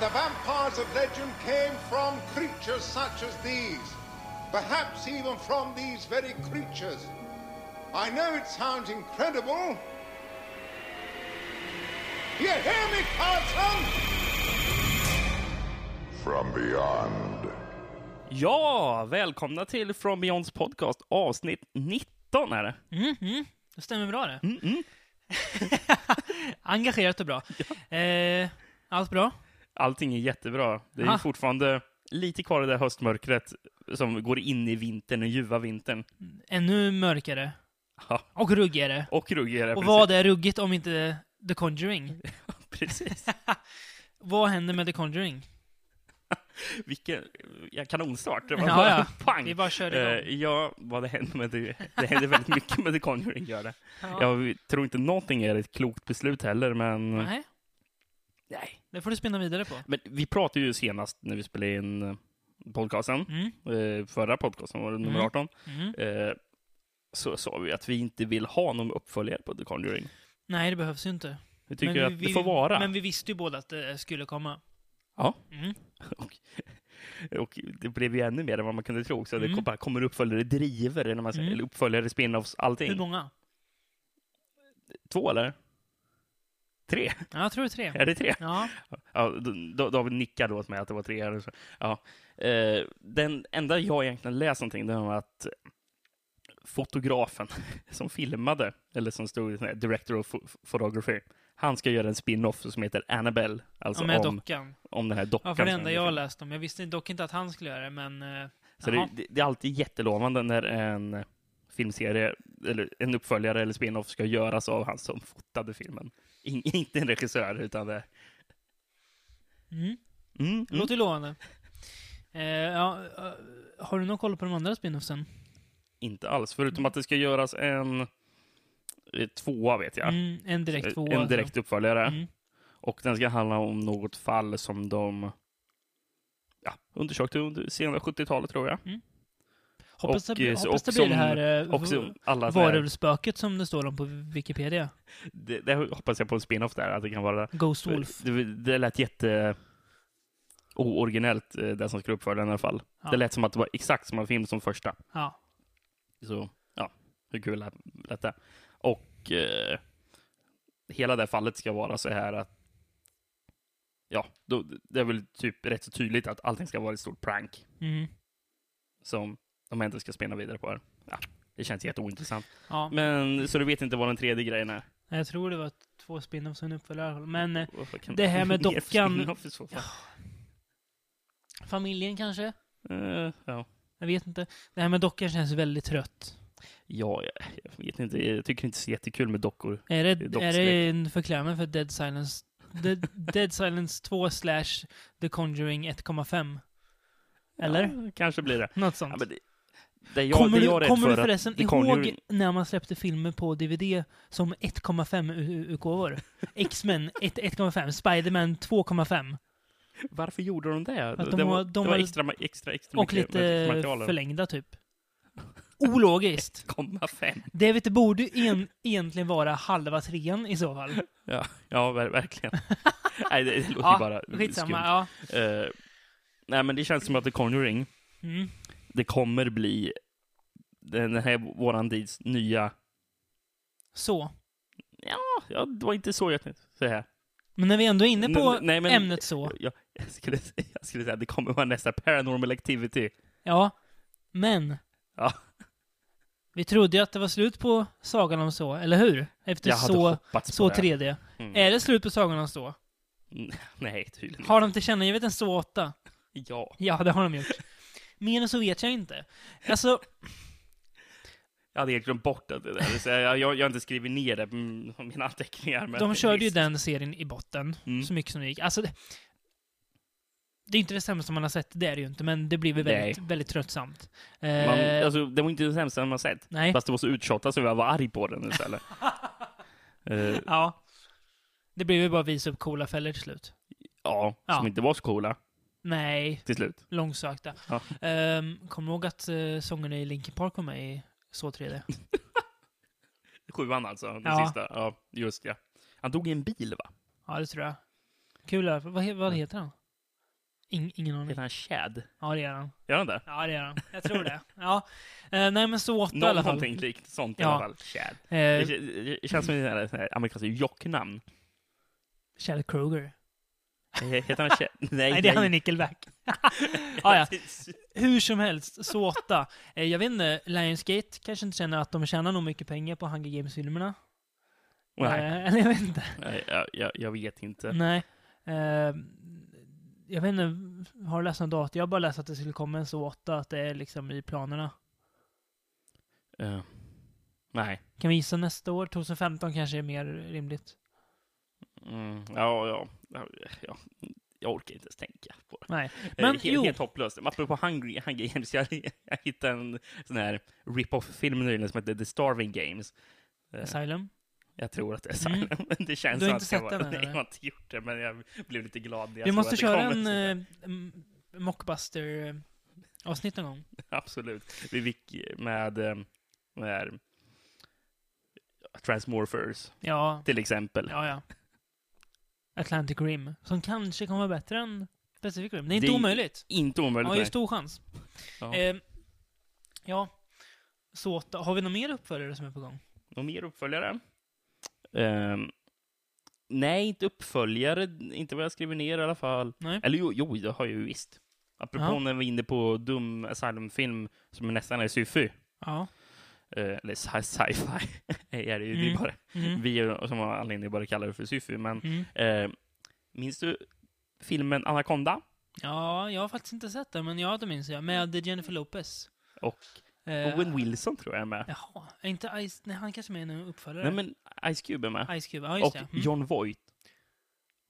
the vampires of legend came from creatures such as these. Perhaps even from these very creatures. I know it sounds incredible. You hear me, Carlson? From beyond. Ja, välkomna till From Beyonds podcast avsnitt 19 är det. Det stämmer bra det. Mm, Engagerat och bra. Eh, allt bra? Allting är jättebra. Det är ju Ah. fortfarande lite kvar i det där höstmörkret som går in i vintern, den ljuva vintern. Ännu mörkare. Ja. Och ruggigare. Och ruggigare. Och vad är ruggigt om inte The Conjuring? precis. precis. Vad händer med The Conjuring? Vilken ja, kanonstart. Det var Ja, bara ja. pang. Vi bara körde igång. Eh, ja, vad det händer med det. Det händer väldigt mycket med The Conjuring. Gör det. Jag tror inte någonting är ett klokt beslut heller, men... Nej, Nej. det får du spinna vidare på. Men vi pratade ju senast när vi spelade in eh, podcasten, Mm. eh, förra podcasten, var det nummer Mm. 18, Mm. eh, så sa vi att vi inte vill ha någon uppföljare på The Conjuring. Nej, det behövs ju inte. Vi tycker Men att det får vara. Men vi visste ju båda att det skulle komma. Ja. Mm. Och, och det blev ju ännu mer än vad man kunde tro. Så det Mm. kom- bara kommer uppföljare driver, eller man säger, Mm. eller uppföljare, spin-offs, Hur allting. många? Två eller? Tre? Ja, jag tror det är tre. Är det tre? Ja. Ja, då, David nickade åt mig att det var tre. Eller så. Ja. Eh, den enda jag egentligen läst någonting, det var att fotografen som filmade, eller som stod sån här, director of pho- photography, han ska göra en spin-off som heter Annabelle, alltså ja, med om, dockan. om den här dockan. Ja, för det som enda är- jag läst om. Jag visste dock inte att han skulle göra det, men... eh, Så jaha. det, det, det är alltid jättelovande när en filmserie, eller en uppföljare eller spin-off ska göras av han som fotade filmen. In, inte en regissör, utan det... Mm. Mm, mm. Det låter ju lovande. Eh, ja, eh, har du någon koll på de andra spinoffsen? Inte alls, förutom att det ska göras en eh, tvåa vet jag. Mm, en direkt tvåa. Eh, en direkt uppföljare. alltså. Mm. Och den ska handla om något fall som de ja, undersökte under sena 70-talet tror jag. Mm. Hoppas, Och, det, eh, så- hoppas det och blir som- det här eh, Och så v- alla så här, varulvsspöket som det står om på Wikipedia. det, det hoppas jag på en spin-off där, att det kan vara Ghost Wolf. Det, det lät jätte ooriginellt, eh, det som skulle uppföra den i alla fall. Ja. Det lät som att det var exakt samma film som första. Ja. Så ja, hur kul lät, lät det? Och eh, hela det fallet ska vara så här att ja, då, det är väl typ rätt så tydligt att allting ska vara ett stort prank Mm. som de inte ska spinna vidare på. Här. Ja, det känns jätteointressant. ja. Men så du vet inte vad den tredje grejen är? Jag tror det var två spinoffs som uppföljare. i alla fall. Men eh, Vad kan Det här med mer för dockan- spin-off i så fall? familjen kanske? Eh, ja. Jag vet inte. Det här med dockan känns väldigt trött. Ja, jag, jag vet inte. Jag tycker inte det är så jättekul med dockor. Är Det är det, är dockskräck. det en förklämning för Dead Silence? Dead, Dead Silence 2 slash The Conjuring 1,5? Eller? Ja, kanske blir det. Något Ja, sånt. men det, det jag, kommer det du, jag är rädd kommer du för att förresten The ihåg Conjuring- när man släppte filmer på DVD som 1,5-utgåvor? X-Men 1 1,5, Spider-Man 2,5 Varför gjorde de det? För att det, de var, var- det de var var- extra, extra, extra och mycket lite material. förlängda typ. Ologiskt. 1,5. Det vet, du, borde ju en, egentligen vara halva trean i så fall. Ja, ja, ver- verkligen. nej, det, det låter ju Ja, bara Skitsamma, skumt. ja. Eh, nej, men det känns som att The Conjuring, Mm. det kommer bli den här våran tids nya... Så. Ja, det var inte så jag tänkte säga. Men när vi ändå är inne på N- nej, men- ämnet så. Jag, jag, skulle, jag skulle säga att det kommer vara nästa Paranormal Activity. Ja. Men. Ja. Vi trodde ju att det var slut på Sagan om så, eller hur? Efter Jag hade så, hoppats på så Eh. det. 3D. Mm. Är det slut på Sagan om så? Nej, tydligen Har de tillkännagivit en så 8? inte. Ja. Ja, det har de gjort. Mer än så vet jag inte. Alltså, Jag hade helt glömt bort att det där. Så jag, jag, jag har inte skrivit ner det på m- på mina anteckningar. Men de körde ju visst. den serien i botten, Mm. så mycket som det gick. Alltså, det, det är ju inte det sämsta man har sett, det är det ju inte, men det blir väl väldigt, väldigt tröttsamt. Eh, Man, alltså, det var inte det sämsta man sett. nej. Fast det var så uttjatat så jag var arg på den istället. Eh, Ja. Det blev ju bara visa upp coola fällor till slut. ja, Ja. som inte var så coola Nej, till slut. långsökta. Ja. Ehm, Kommer du ihåg att uh, sångerna i Linkin Park var med i Så 3D? Sjuan alltså, den Ja. sista. Ja, just ja. Han dog i en bil va? Ja, det tror jag. Kul i alla fall. Vad, he- vad heter han? In, ingen aning. Heter han Chad? Ja, det gör han. Gör han det? Ja, det gör han. Jag tror det. Ja. Eh, nej, men så åtta i alla fall. Någonting likt sånt i Ja. alla fall. Chad. Det, Eh, k- det- det känns som ett sånt här amerikanskt jocknamn. Chad Kroger. Eh, Heter han Chad? Nej, Nej, det är han i Nickelback. ah, ja. Hur som helst, så åtta. Eh, jag vet inte, Lionsgate kanske inte känner att de tjänar nog mycket pengar på Hunger Games-filmerna. Oh, nej. Eh, eller jag vet inte. Nej, Jag, jag, jag vet inte. Nej. Eh, jag vet inte, har du läst något datum? Jag har bara läst att det skulle komma en så åtta, att det är liksom i planerna. Eh, nej. Kan vi gissa nästa år? 2015 kanske är mer rimligt. Mm, ja, ja, ja, ja. Jag orkar inte ens tänka på det. Nej. Eh, Men helt, jo, helt hopplöst. Men Apropå Hungry, Hunger Games, jag, jag hittade en sån här rip-off-film nyligen som heter The Starving Games. Eh, Asylum. jag tror att det är Mm. Silent. Det känns Du har som inte att jag sett var- den, Nej, eller? jag har inte gjort det, men jag blev lite glad när jag Vi såg måste att det köra kom en sån- eh, m- mockbuster-avsnitt någon gång. Absolut. Vi fick med, eh, vad är det? Transmorphers, Ja, till exempel. ja, ja. Atlantic Rim, som kanske kommer vara bättre än Pacific Rim. Det är inte Det är- omöjligt. Inte omöjligt. Ja, det är nej. stor chans. Ja. Eh, ja. Så åtta. Har vi någon mer uppföljare som är på gång? Någon mer uppföljare? Ehm, nej, inte uppföljare. Inte vad jag skriver ner i alla fall. Nej. Eller jo, jo det har jag ju visst. Apropå Ja. när vi var inne på dum Asylum-film som nästan är sci-fi. Ja. Eh, eller sci- sci-fi. Nej, är det, ju, det är Mm. bara, Mm. Vi är- som har anledning bara kallar det för sci-fi. Men, Mm. eh, minns du filmen Anaconda? Ja, jag har faktiskt inte sett den, men ja, det minns jag. Med Jennifer Lopez. Och Eh, Owen Wilson tror jag är med. Jaha, är inte Ice... Nej, han kanske är med i en uppföljare. Nej, men Ice Cube är med. Ice Cube, ja just och det. Mm. John Voight.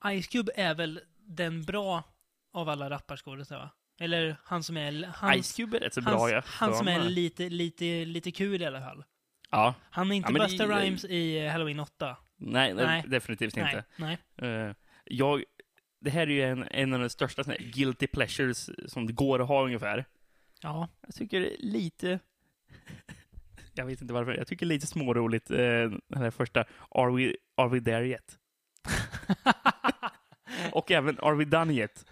Ice Cube är väl den bra av alla rapparskådisar va? Eller han som är... Han, Ice Cube är rätt så han, bra. jag han för som är mig. lite, lite, lite kul i alla fall. Ja. Han är inte men det- Busta Rhymes i eh, Halloween 8. Nej, nej, Nej. definitivt inte. Nej, nej. Eh, jag, det här är ju en, en av de största såna här guilty pleasures som det går att ha ungefär. Ja. Jag tycker det är lite... Jag vet inte varför. Jag tycker det är lite småroligt, eh, den här första Are we, are we there yet? Och även Are we done yet?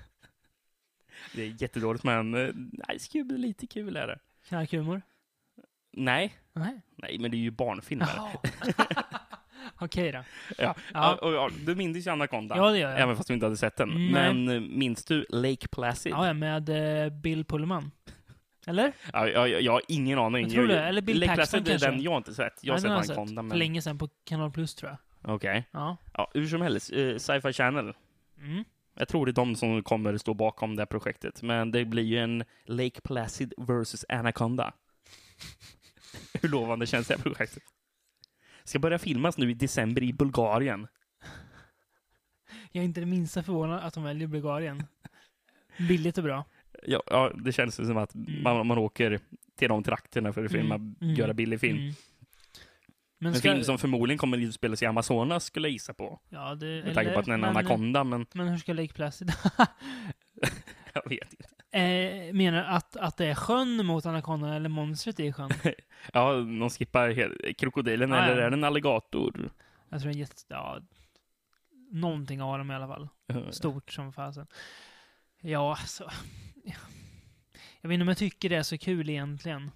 Det är jättedåligt, men eh, Ice Cube är lite kul är det. Knarkhumor? Nej, Nej. nej, men det är ju barnfilmer. Jaha. Okej då. Ja. Ja. Och, och, och, du minns ju Anaconda, Ja, det gör jag. även fast du inte hade sett den. Mm, nej. men eh, minns du Lake Placid? Ja, ja, med eh, Bill Pullman. Eller? Ja, jag, jag, jag har ingen aning. Jag tror det. Eller Bill Lake Paxton Placid är den kanske. jag har inte sett. Jag Nej, har den har sett Anaconda, För men... länge sedan på Kanal Plus tror jag. Okej. Ja. Ja, hur som helst, eh, Sci-Fi Channel. Mm. Jag tror det är de som kommer stå bakom det här projektet. Men det blir ju en Lake Placid vs Anaconda. hur lovande känns det här projektet? Ska börja filmas nu i december i Bulgarien. Jag är inte det minsta förvånad att de väljer Bulgarien. Billigt och bra. Ja, ja det känns ju som att man, man åker till de trakterna för att filma, Mm, mm, göra billig film. Mm. Men En ska, film som förmodligen kommer att utspelas i Amazonas skulle jag gissa på. ja, det, Med tanke på att den är en anakonda, men Men hur ska Lake Placid... jag vet inte. eh, menar att, att det är sjön mot anakondan eller monstret i sjön? Ja, de skippar hel- krokodilen, Ah, ja. eller är det en alligator? Jag tror det är jätte... Ja, någonting av dem i alla fall. Eh, Stort som fasen. Ja, alltså... Jag vet inte om jag tycker det är så kul egentligen.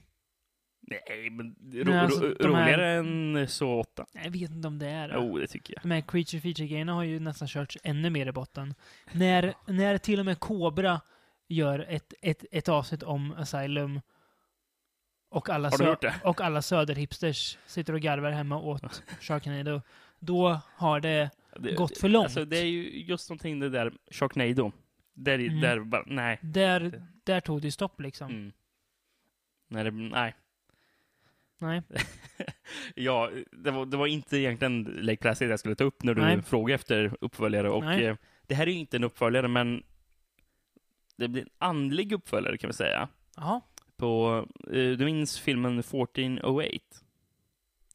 Nej, men ro, Nej, alltså, ro, de här- roligare än så åtta. Jag vet inte om det är det. Jo, det tycker jag. De här creature feature-grejerna har ju nästan körts ännu mer i botten. När, när till och med Cobra gör ett, ett, ett avsnitt om Asylum och alla, Har du sö- gjort det? och alla söderhipsters sitter och garvar hemma åt Sharknado, då har det... Det- Gått för långt. Alltså, det är ju just någonting det där Sharknado. Där, Mm. där bara, nej. Där, där tog det ju stopp liksom. Mm. Nej, det, nej. Nej. Ja, det var, det var inte egentligen Lake Placid jag skulle ta upp när du Nej. frågade efter uppföljare. Och, Nej. eh, det här är ju inte en uppföljare, men det blir en andlig uppföljare kan vi säga. Jaha. På, eh, du minns filmen 1408?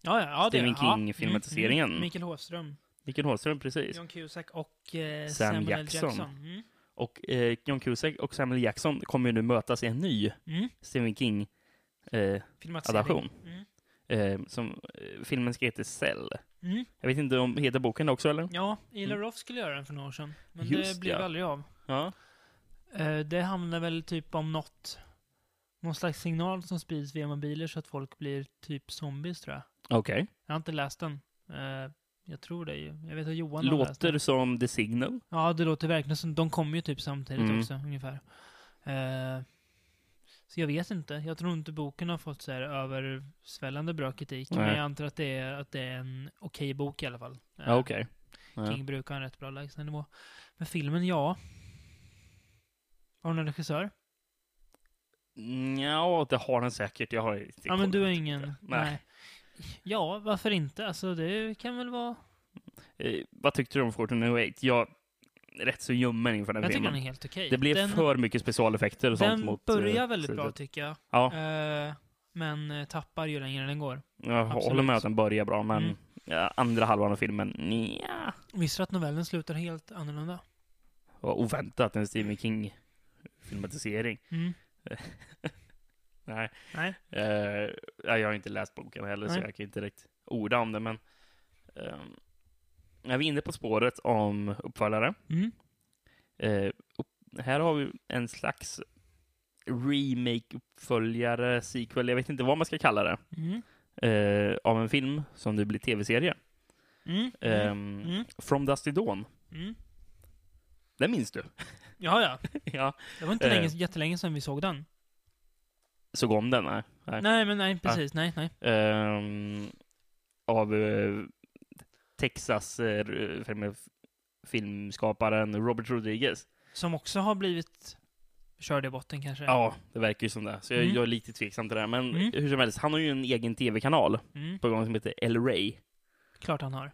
Ja, ja, ja, det- Stephen ja. King-filmatiseringen. Mm, mm. Mikael Håström, Mikael Holström, precis. John Cusack och eh, Sam Samuel L. Jackson. Jackson. Mm. Och eh, John Cusack och Samuel Jackson kommer ju nu mötas i en ny Mm. Stephen King-adaption. Filmatisering. Mm. Eh, som, eh, filmen ska heta Cell. Mm. Jag vet inte om heter boken också, eller? Ja, Ila Roth skulle göra den för några år sedan. Men Mm. Just det blev ja. aldrig av. Ja. Eh, Det handlar väl typ om något, någon slags signal som sprids via mobiler så att folk blir typ zombies tror jag. Okej. Jag har inte läst den. Eh, Jag tror det. ju. Jag vet att Johan har läst den. Låter som The Signal. Ja, det låter verkligen som, de kommer ju typ samtidigt Mm. också ungefär. Eh, Så jag vet inte. Jag tror inte boken har fått så här översvällande bra kritik. Men Nej. jag antar att det är, att det är en okej bok i alla fall. Eh, Ja, okej. Typ- Ja. King brukar ha en rätt bra lägstanivå. Men filmen, ja. Har du någon regissör? Ja, det har den säkert. Jag har inte Ja, men koll. du är ingen... Nej. Nej. Ja, varför inte? Alltså, det kan väl vara... Eh, vad tyckte du om 1408? Jag är rätt så ljummen inför den Jag tycker filmen. den är helt okej. Det blev den, för mycket specialeffekter och sånt Den mot... börjar eh, väldigt bra, slutet. tycker jag. Ja, Eh, men eh, tappar ju längre den går. jag håller absolut. med att den börjar bra, men Mm. ja, andra halvan av filmen, nja. Visste du att novellen slutar helt annorlunda? var oväntat en Stephen King-filmatisering. Mm. Nej, Nej. eh, ja, jag har inte läst boken heller, så Nej. jag kan inte direkt orda om det, men... Eh, när vi är inne på spåret om uppföljare, Mm. Eh, upp, här har vi en slags remake, uppföljare, sequel, jag vet inte vad man ska kalla det, Mm. eh, av en film som nu blir tv-serie. Mm. Mm. Ehm, Mm. From Dust to Dawn. Mm. Den minns du? Ja, ja. ja. Det var inte Eh. länge, jättelänge sedan vi såg den. Såg om den? Nej. Nej. Nej, men nej, precis. Nej, nej. Ehm, av eh, Texas eh, film, filmskaparen Robert Rodriguez. Som också har blivit körd i botten kanske. Ja, det verkar ju som det. Så jag, Mm. jag är lite tveksam till det här. Men Mm. hur som helst, han har ju en egen tv-kanal Mm. på gång som heter El Rey. Klart han har.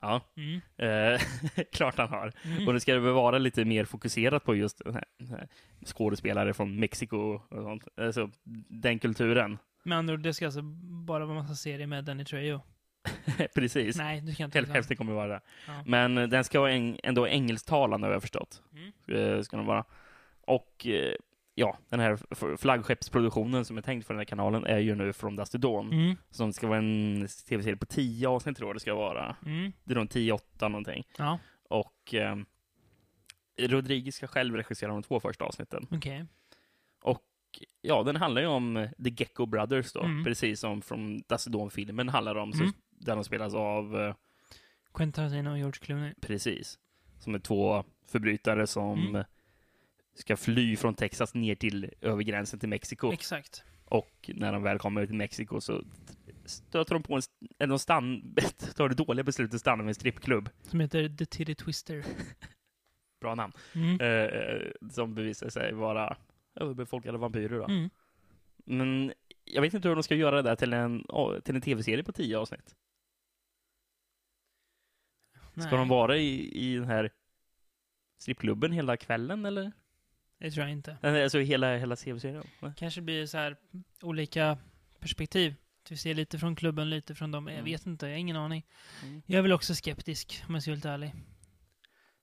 Ja, Mm. eh, klart han har. Och Mm. det ska väl vara lite mer fokuserat på just den här, den här skådespelare från Mexiko och sånt. Alltså, den kulturen. Med andra ord, det ska alltså bara vara massa serier med Danny Trejo. Precis. Nej, du kan inte liksom- Häl- säga så. Hälften kommer vara det. Ja. Men eh, den ska vara en, ändå engelsktalande har jag förstått. Mm. Eh, ska den vara. Och eh, ja, den här f- flaggskeppsproduktionen som är tänkt för den här kanalen är ju nu From Dust to Dawn. Mm. Som ska vara en tv-serie på 10 avsnitt tror jag det ska vara. Mm. Det är runt 10-8 någonting. Ja, Och eh, Rodriguez ska själv regissera de två första avsnitten. okej. Ja, den handlar ju om eh, The Gecko Brothers då, Mm. precis som från Dusty Dawn-filmen handlar om, så Mm. där de spelas av, eh, Quentin Tarantino och George Clooney. precis, som är två förbrytare som Mm. eh, ska fly från Texas ner till över gränsen till Mexiko. Exakt. och när de väl kommer till Mexiko så stöter de på en, st- eller de stann, tar det dåliga beslutet att stanna vid en strippklubb, Som heter The Titty Twister. bra namn, Mm. eh, eh, som bevisar sig vara överbefolkade vampyrer då. Mm. Men jag vet inte hur de ska göra det där till en, till en tv-serie på tio avsnitt. Ska Nej, de vara i, i den här strippklubben hela kvällen eller? Det tror jag inte. Nej, Alltså hela, hela CV-serien? Nej. Kanske blir så här olika perspektiv. Du ser lite från klubben, lite från dem. Jag Mm. vet inte, jag har ingen aning. Mm. Jag är väl också skeptisk, om jag ska vara helt ärlig.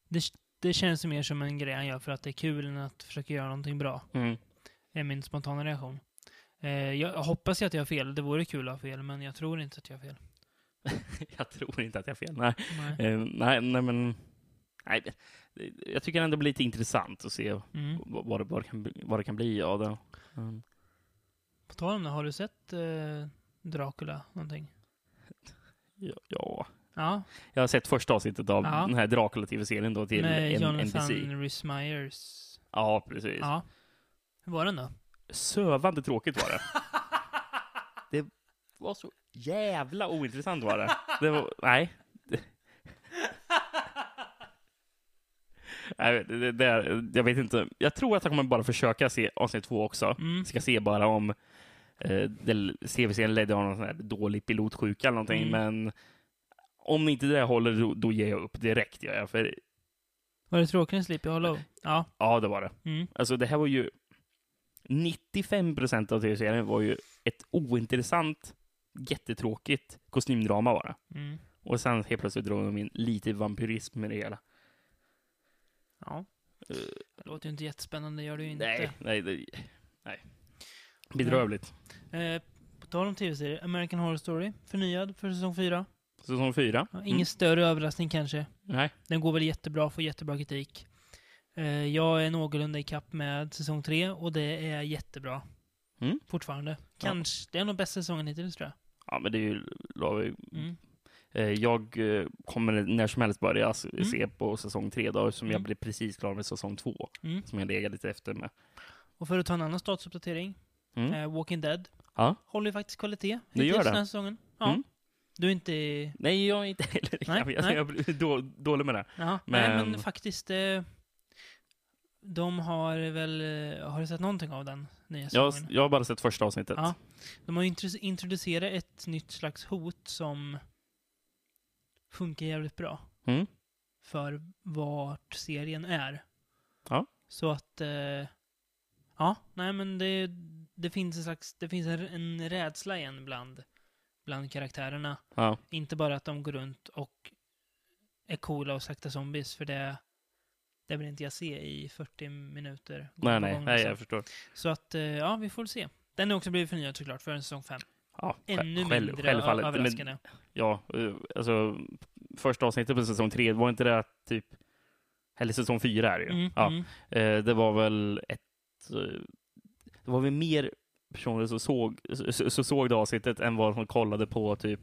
Det, det känns ju mer som en grej han gör för att det är kul än att försöka göra någonting bra. Mm. är min spontana reaktion. Eh, jag hoppas ju att jag har fel. Det vore kul att ha fel, men jag tror inte att jag har fel. jag tror inte att jag har fel. Nej. Nej. Eh, nej, nej men... Nej, det- jag tycker ändå det blir lite intressant att se Mm. vad, vad, det, vad, det, kan, bli- vad det kan bli av det. Mm. På tal om det, har du sett eh, Dracula någonting? Ja, ja. Ja, Jag har sett första avsnittet av Ja. den här Dracula-tv-serien då till med N- Jonathan NBC. Rhys-Meyers. Ja, precis. Ja. Hur var den då? Sövande tråkigt var det. det var så jävla ointressant var det. det var, nej. nej det, det, det, är- jag vet inte. Jag tror att jag kommer bara försöka se avsnitt två också. Mm. Ska se bara om eh, CV-serien ledde av någon sån här dålig pilotsjuka eller någonting, Mm. men om inte det där håller, då, då ger jag upp direkt. Gör jag, för, Var det tråkigt med Sleepy Hollow? Ja. ja, det var det. Mm. Alltså det här var ju 95 procent av tv-serien var ju ett ointressant, jättetråkigt kostymdrama bara. Mm. Och sen helt plötsligt drog de in lite vampyrism i det hela. Ja. Eh, Det låter ju inte jättespännande, gör det ju inte. Nej, nej, det, nej. Bedrövligt. Eh, på tal om tv-serier, American Horror Story, förnyad för säsong fyra. Säsong fyra. Ja, ingen Mm. större överraskning kanske. Nej. Den går väl jättebra, får jättebra kritik. Eh, jag är någorlunda ikapp med säsong tre och det är jättebra. Mm. Fortfarande. Kanske, det är nog bästa säsongen hittills tror jag. Ja, men det är ju... la- Mm. eh, Jag eh, kommer när som helst börja s- Mm. se på säsong tre då, som jag Mm. blir precis klar med säsong två, Mm. som jag legat lite efter med. Och för att ta en annan statusuppdatering, Mm. eh, Walking Dead Ja. håller ju faktiskt kvalitet Det gör hittills det. den här säsongen. Ja. Mm. Du är inte... Nej, jag är inte heller Nej, jag, jag, nej. jag blir då, dålig med det. Jaha. Nej, men Men- faktiskt... Eh, de har väl... eh, Har du sett någonting av den nya Jag, säsongen? jag har bara sett första avsnittet. Ja. De har ju introdu- introducerat ett nytt slags hot som funkar jävligt bra. Mm. För vart serien är. Ja. Så att... Eh, ja, nej men det, det finns en slags... Det finns en, en rädsla igen bland, bland karaktärerna. Ja. Inte bara att de går runt och är coola och slaktar zombies, för det, det vill inte jag se i 40 minuter. gång Nej, på nej, gång, nej, liksom. jag förstår. Så att, eh, ja, vi får väl se. Den har också blivit förnyad såklart för en säsong 5. Ja, sj- Ännu själv- mindre självfallet. ö- Men- överraskande. ja, eh, alltså första avsnittet på säsong tre, var inte det att typ, eller säsong fyra är det ju. Mm, ja. mm, Eh, det var väl ett, eh, det var väl mer personer som såg, så, så såg det avsnittet än vad som kollade på typ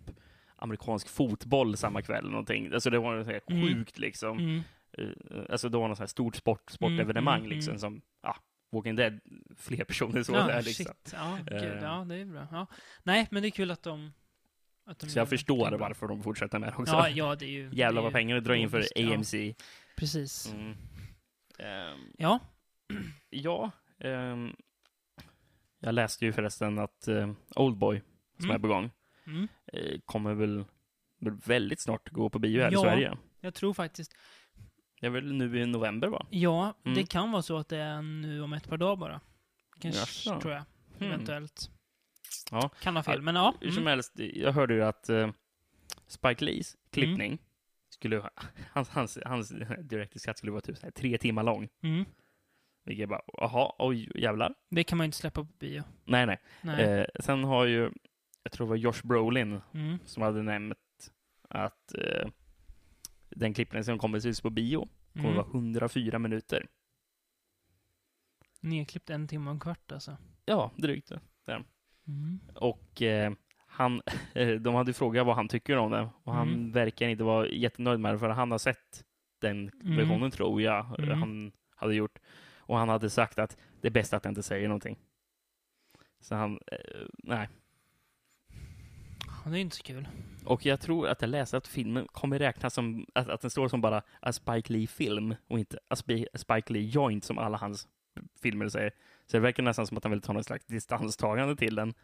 amerikansk fotboll samma kväll eller någonting. Alltså det var något så här Mm. sjukt liksom. mm. Eh, Alltså det var något så här stort sport, sportevenemang Mm, mm, liksom mm. som, ja, Walking Dead, fler personer såg Ja, det här, liksom. shit. Ja, gud, Eh. ja, det är bra. Ja. Nej, men det är kul att de... Att de Så gör jag det. förstår Det är bra. varför de fortsätter med det också. Ja, ja, det är ju... det Jävlar är vad ju- pengar de drar in för logiskt, ja. AMC. Precis. Mm. Ehm, Ja. ja, ehm, jag läste ju förresten att ehm, Oldboy, som Mm. är på gång, Mm. eh, kommer väl väl väldigt snart gå på bio här Ja. i Sverige. Jag tror faktiskt... Det är väl nu i november va? Ja, Mm. det kan vara så att det är nu om ett par dagar bara. Kanske, Jaså. tror jag. Hmm. Mm. Eventuellt. Ja. Kan ha fel, Ja, men ja. Hur som Mm. helst, jag hörde ju att eh, Spike Lees klippning Mm. skulle, hans, hans, hans direktskatt skulle vara typ så här tre timmar lång. Mm. Vilket jag bara, jaha, oj jävlar. Det kan man ju inte släppa på bio. Nej, nej. Nej. Eh, sen har ju, jag tror det var Josh Brolin Mm. som hade nämnt att eh, den klippningen som kommer precis på bio kommer Mm. vara 104 minuter. Nedklippt en timme och en kvart alltså. Ja, drygt. Mm. Och eh, han, eh, de hade ju frågat vad han tycker om det och han Mm. verkar inte vara jättenöjd med det för han har sett den Mm. versionen tror jag eh, Mm. han hade gjort. Och han hade sagt att det är bäst att jag inte säger någonting. Så han, eh, nej. Ja, Det är inte så kul. Och jag tror att jag läste att filmen kommer räknas som, att, att den står som bara A Spike Lee-film och inte A, Spi- A Spike Lee Joint som alla hans filmer säger. Så det verkar nästan som att han vill ta någon slags distanstagande till den.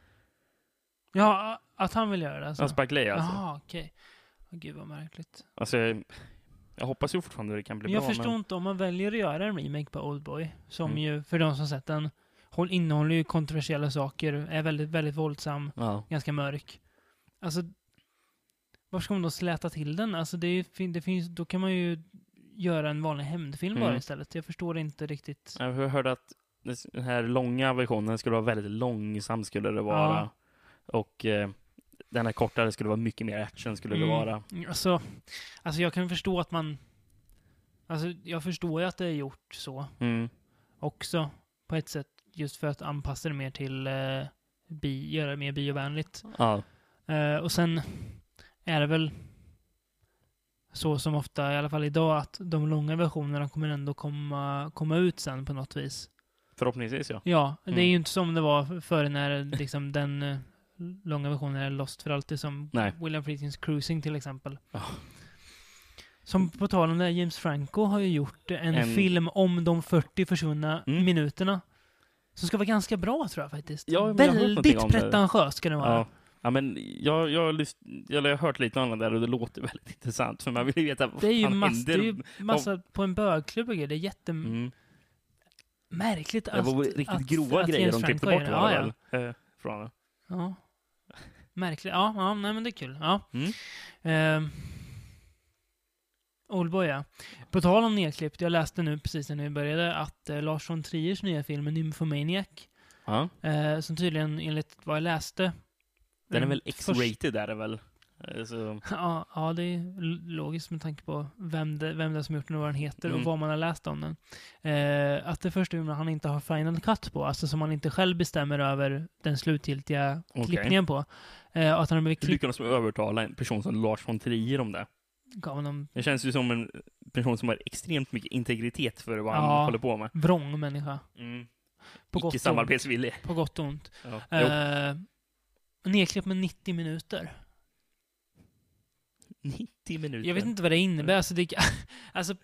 Ja, att han vill göra det alltså. Ja, Spike Lee alltså. Jaha, okej. Åh, Gud vad märkligt. Alltså, jag hoppas ju fortfarande det kan bli Men jag bra. förstår men... inte om man väljer att göra en remake på Oldboy. Som Mm. ju, för de som sett den, håll, innehåller ju kontroversiella saker. Är väldigt, väldigt våldsam. Ja. Ganska mörk. Alltså, var ska man då släta till den? Alltså det, är, ju fin- det finns, då kan man ju göra en vanlig hämndfilm bara Mm. istället. Jag förstår inte riktigt. Jag hörde att den här långa versionen skulle vara väldigt långsam skulle det vara. Ja. Och eh, den här kortare skulle vara mycket mer action skulle det Mm. vara. Mm, Alltså, alltså jag kan förstå att man... Alltså jag förstår ju att det är gjort så Mm. också på ett sätt. Just för att anpassa det mer till eh, bi, göra det mer biovänligt. Ja. Eh, och sen är det väl så som ofta, i alla fall idag, att de långa versionerna kommer ändå komma, komma ut sen på något vis. Förhoppningsvis ja. Ja, det är Mm. ju inte som det var förr när liksom den eh, långa versionen är lost för alltid som Nej. William Friedkins Cruising till exempel. Ja. Som på tal om det, här, James Franco har ju gjort en, En- film om de 40 försvunna Mm. minuterna. Som ska vara ganska bra tror jag faktiskt. Ja, men jag har hört någonting Väldigt om det. pretentiös ska den vara. Ja. ja men jag, jag, har lyst, eller jag har hört lite om det där och det låter väldigt intressant för man vill ju veta vad Det är ju, fan mass, det är ju händer. massa på en bögklubb och grejer. Det är jättemärkligt Mm. märkligt Det var riktigt grova grejer Alltså, James de klippte Franco bort är det. var det ja, väl? Eh, Från det. ja. ja. Märkligt. Ja, ja, nej men det är kul. Ja. Mm. Ehm. Oldboy, ja. På tal om nedklippt, jag läste nu precis när vi började att eh, Lars von Triers nya film Nymphomaniac, Ja. eh, som tydligen enligt vad jag läste... Den är eh, väl först- X-rated är det väl? Eh, Så, Ja, ja, det är l- logiskt med tanke på vem det, vem det är som gjort den och vad den heter Mm. och vad man har läst om den. Eh, att det första filmen han inte har final cut på, alltså som han inte själv bestämmer över den slutgiltiga Okej. klippningen på. Eh, och att han har blivit hur klippt lyckades de övertala en person som Lars von Trier om det? gav honom Det känns ju som en person som har extremt mycket integritet för vad han Ja. håller på med. vrång människa. Mm. Icke På gott, och ont, samarbetsvillig. på gott och ont. Ja. Jo, Eh, nedklippt med 90 minuter. 90 minuter. Jag vet inte vad det innebär. Alltså det, alltså,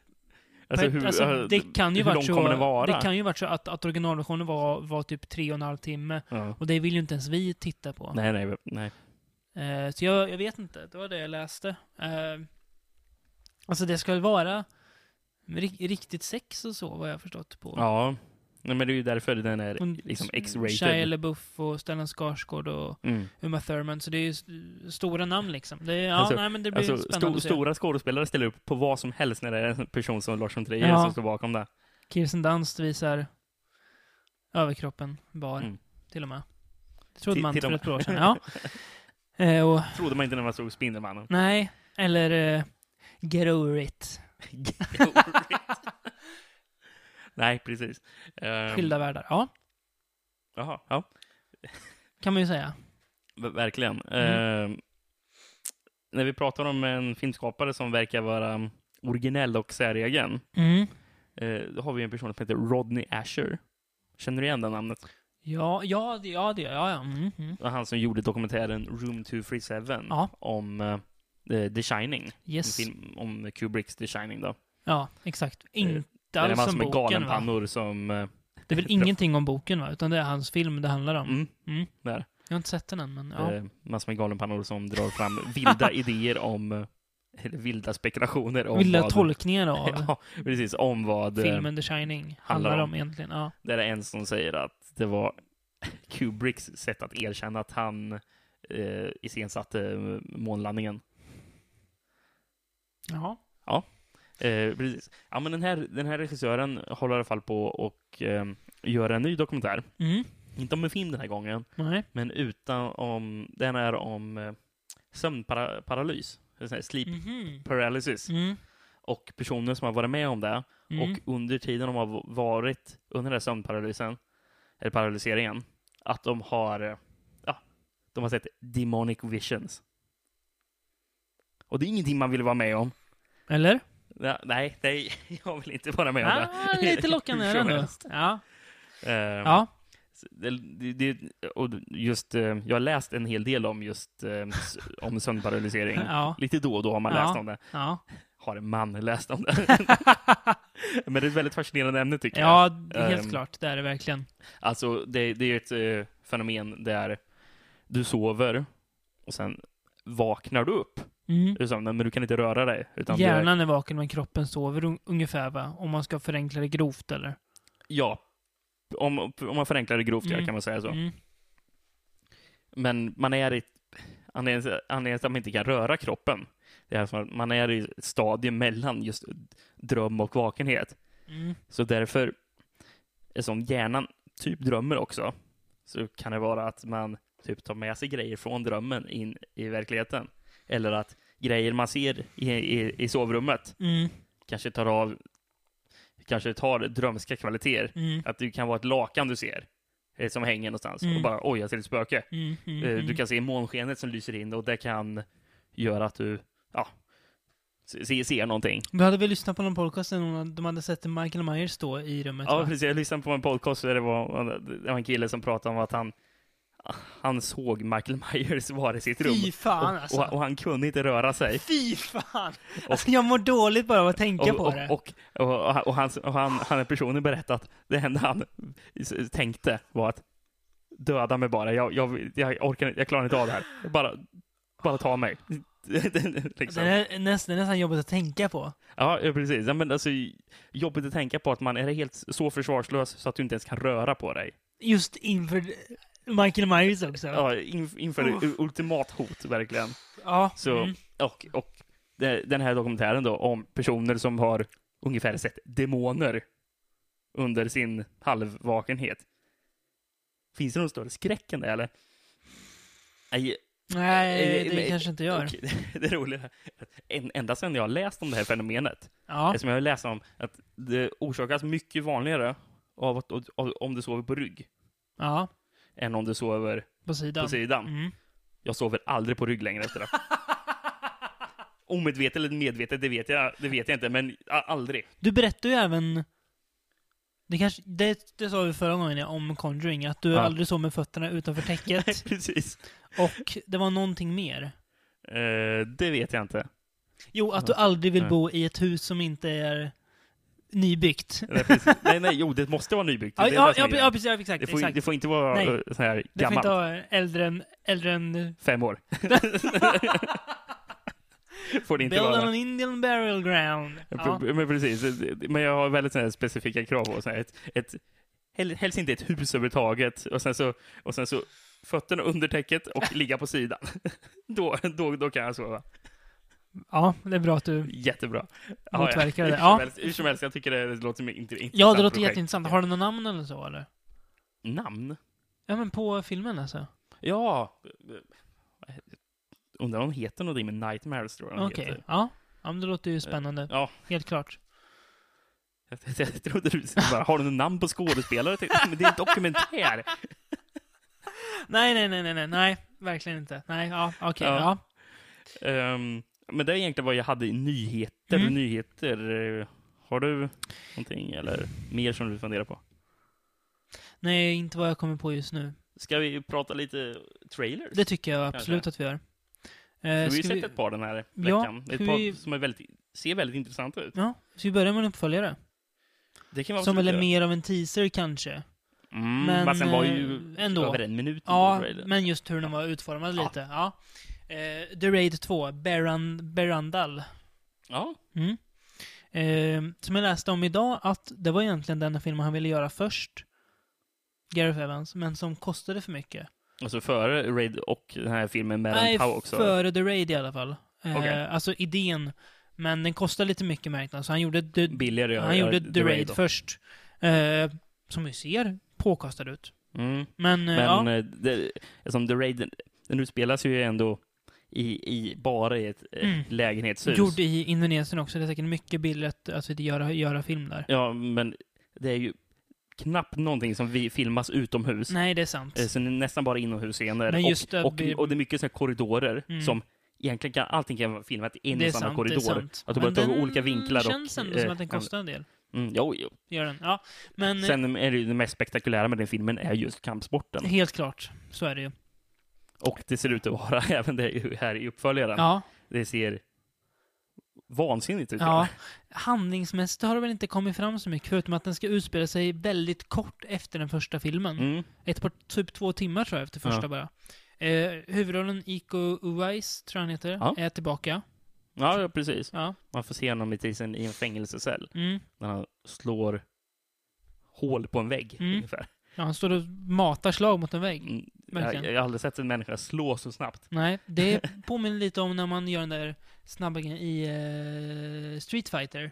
Alltså, per- hur, alltså, det kan ju hur varit lång så, kommer den vara? Det kan ju varit så att, att originalversionen var, var typ tre och en halv timme. ja. Och det vill ju inte ens vi titta på. Nej, nej, nej. Eh, så jag, jag vet inte, det var det jag läste. Eh, alltså det ska väl vara ri- riktigt sex och så, vad jag har förstått på. Ja. Nej, men det är ju därför den är Hon- liksom Shia X-rated. LaBeouf och Stellan Skarsgård och Mm. Uma Thurman, så det är ju s- stora namn liksom. Det är, ja, Alltså- nej men det blir Alltså, spännande sto- att se. stora skådespelare ställer upp på vad som helst när det är en person som Lars von Trier Ja. som står bakom det. Kirsten Dunst visar överkroppen bar, Mm. till och med. Det trodde Till- man till och för med. ett par år sedan. Ja. Eh, och, Trodde man inte när man såg Spindelmannen. nej, eller eh, Get Over It. nej, precis. Ehm, Skilda världar. Ja, Jaha, ja. kan man ju säga. V- Verkligen. Mm. Ehm, när vi pratar om en filmskapare som verkar vara mm, originell och säregen, Mm. eh, då har vi en person som heter Rodney Asher. Känner du igen det namnet? Ja, ja, det, ja, det, ja, ja. Mm, mm. Det var han som gjorde dokumentären Room 237 Ja. om eh, The Shining. Yes. En film om Kubricks The Shining då. Ja, exakt. Inte Där det alls var som som är alltså boken, va? galenpannor som... eh, Det är väl ingenting om boken, va? Utan det är hans film det handlar om. Mm. Mm. Där. Jag har inte sett den än, men ja. Eh, massor med galenpannor som drar fram vilda idéer om, eh, eller vilda spekulationer om Vilda vad... tolkningar av Ja, precis. Om vad... eh, filmen The Shining handlar handlar, om. om. egentligen. Ja. Där är en som säger att det var Kubricks sätt att erkänna att han eh, iscensatte eh, månlandningen. Jaha. Eh, precis. Ja, men den, här, den här regissören håller i alla fall på och eh, gör en ny dokumentär. Mm. Inte om en film den här gången, Nej. men utan om, den är om eh, sömnparalys, eller sån här sleep Mhm. paralysis, Mm. och personer som har varit med om det. Mm. Och under tiden de har varit under den här sömnparalysen, eller paralyseringen, att de har, eh, ja, de har sett demonic visions. Och det är ingenting man vill vara med om. Eller? Ja, Nej, nej, jag vill inte vara med om det. Ah, lite lockande Hur är som det ändå. helst. Ja. Eh, ja. så Det, det, det, och just, eh, jag har läst en hel del om just eh, s- om sömnparalysering. Ja. Lite då och då har man Ja. läst om det. Ja. Har en man läst om det? Men det är ett väldigt fascinerande ämne tycker jag. ja, det är helt Ehm. klart. Det är det verkligen. Alltså, det, det är ju ett eh, fenomen där du sover och sen vaknar du upp Mm. ur sömnen, men du kan inte röra dig. Utan Du är, Hjärnan är vaken men kroppen sover un- ungefär, va? Om man ska förenkla det grovt, eller? ja, om, om man förenklar det grovt Mm. ja, kan man säga så. Mm. Men man är i ett- anledningen anledningen till att man inte kan röra kroppen, det är att man är i ett stadium mellan just dröm och vakenhet. Mm. Så därför, som hjärnan typ drömmer också, så kan det vara att man typ tar med sig grejer från drömmen in i verkligheten. Eller att grejer man ser i, i, i sovrummet Mm. kanske tar av, kanske tar drömska kvaliteter. Mm. Att det kan vara ett lakan du ser, eh, som hänger någonstans, och Mm. bara oj, jag ser ett spöke. Mm. Mm. Eh, Mm. Du kan se månskenet som lyser in och det kan göra att du, ja, se- se- ser någonting. Du hade väl lyssnat på någon podcast där någon- de hade sett Michael Myers stå i rummet? Ja, va? precis. Jag lyssnade på en podcast där det var, det var en kille som pratade om att han, han såg Michael Myers vara i sitt rum. Fy fan alltså. och, och, och han kunde inte röra sig. Fy fan! Alltså jag mår dåligt bara av att tänka Och, på och, det. och, och, och, han, och han, han är personen berättat att det enda han s- tänkte var att döda mig bara. Jag, jag, jag orkar inte- jag klarar inte av det här. Bara, bara ta mig. liksom. det, är nästan, det är nästan jobbigt att tänka på. Ja, ja, precis. Ja, men alltså, jobbigt att tänka på att man är helt så försvarslös så att du inte ens kan röra på dig. Just inför Michael Myers också. Ja, inf- inför Uff. ultimat hot, verkligen. Ja, Så, mm. och, och de- den här dokumentären då om personer som har ungefär sett demoner under sin halvvakenhet. Finns det någon större skräck än det, eller? Nej, Nej, Eh, det men- kanske inte gör. Okej, det- det roliga är att en- ända sedan jag har läst om det här fenomenet, Ja. eftersom jag har läst om att det orsakas mycket vanligare av att, av, om du sover på rygg ja, än om du sover på sidan. på sidan. Mm. Jag sover aldrig på rygg längre efter det. Omedvetet eller medvetet, det vet jag, det vet jag inte, men a- aldrig. Du berättade ju även... Det, kanske, det, det sa vi förra gången ja, om Conjuring, att du Ja. aldrig sov med fötterna utanför täcket. Precis. och det var någonting mer. Eh, det vet jag inte. Jo, att du aldrig vill Nej. bo i ett hus som inte är nybyggt. Nej, precis. nej, nej, jo, det måste vara nybyggt. Ja, det, är det ja, som ja, är ja, grejen. precis, ja, exakt. det, får, ju- exakt. det får inte vara Nej. eh, så här Det får gammalt. inte vara äldre än, äldre än Fem år. får det inte Build on vara. an Indian burial ground. Ja. Men precis. Men jag har väldigt så här specifika krav på så här ett, ett, hel- helst inte ett hus överhuvudtaget och sen så, och sen så fötterna under täcket och ligga på sidan. då, då, då kan jag sova. ja, det är bra att du... Jättebra. Motverkar det, Hur som ja. helst- Hur som helst, jag tycker det låter som ett int- intressant Ja, det låter projekt. jätteintressant. Har du något namn eller så, eller? Namn? Ja, men på filmen alltså? Ja. Undrar om hon heter någonting med Nightmares, tror jag hon Okej. heter. Ja. ja, men det låter ju spännande. Ja, Helt klart. jag, jag trodde du skulle bara, har du något namn på skådespelare? Jag tänkte, Men det är en dokumentär. Nej, nej, nej, nej, nej, nej. Verkligen inte. Nej, ja, okej, Ja. ja. Ehm, men det är egentligen vad jag hade i nyheter. Mm. Nyheter. eh, Har du någonting eller mer som du funderar på? Nej, inte vad jag kommer på just nu. Ska vi prata lite trailers? Det tycker jag absolut Kanske. att vi gör. Eh, vi har ju ska sett ett par den här Ja, veckan. ska ett par vi- som är väldigt, ser väldigt intressanta ut. Ja, ska vi börja med en uppföljare? Det kan man Som väl absolut är göra. mer av en teaser kanske? Mm, men, men, den var ju eh, ändå. över en minut. Ja, i trailern. men just hur den var utformad Ja. lite. Ja. Eh, The Raid 2, Beran, Berandal. ja. Mm. Eh, som jag läste om idag, att det var egentligen den filmen han ville göra först. Gareth Evans, men som kostade för mycket. Alltså före Raid och den här filmen med Nej, Ron Tau också? före The Raid i alla fall. Eh, Okej. Alltså idén. Men den kostade lite mycket märknaden, så han gjorde The, Billigare han gjorde The, Raid, då. först. Eh, som vi ser påkostad ut. Mm. Men, eh, Men ja. eh, det, som The Raid, den- den utspelas ju ändå i, i, bara i ett eh, Mm. lägenhetshus. Gjord i Indonesien också. Det är säkert mycket billigare att, att göra, göra film där. Ja, men det är ju knappt någonting som vi filmas utomhus. Nej, det är sant. Eh, Så det är nästan bara inomhusscener. Men just det, och, och, vi- och det är mycket så här korridorer Mm. som egentligen kan, allting kan vara filmat i en det är och samma sant, korridor. Det är sant. Att de bara Men tar den olika vinklar och... känns ändå som eh, att den kostar en del. Mm, jo, jo. Gör den. Ja, men eh, Sen är det ju det mest spektakulära med den filmen är just kampsporten. helt klart. Så är det ju. Och det ser ut att vara även det ju här i uppföljaren. Ja, Det ser vansinnigt ut. ja. Handlingsmässigt har det väl inte kommit fram så mycket, förutom att den ska utspela sig väldigt kort efter den första filmen. Mm. Ett par, typ två timmar tror jag, efter första Ja. bara. Eh, huvudrollen Iko Uwais, tror jag han heter, Ja. är tillbaka. ja, ja, precis. Ja. Man får se honom i, tisen, i en fängelsecell Mm. när han slår hål på en vägg, Mm. ungefär. ja, han står och matar slag mot en vägg. Mm. Jag, Verkligen. jag har aldrig sett en människa slå så snabbt. Nej, det påminner lite om när man gör den där snabba grejen i eh, Street Fighter.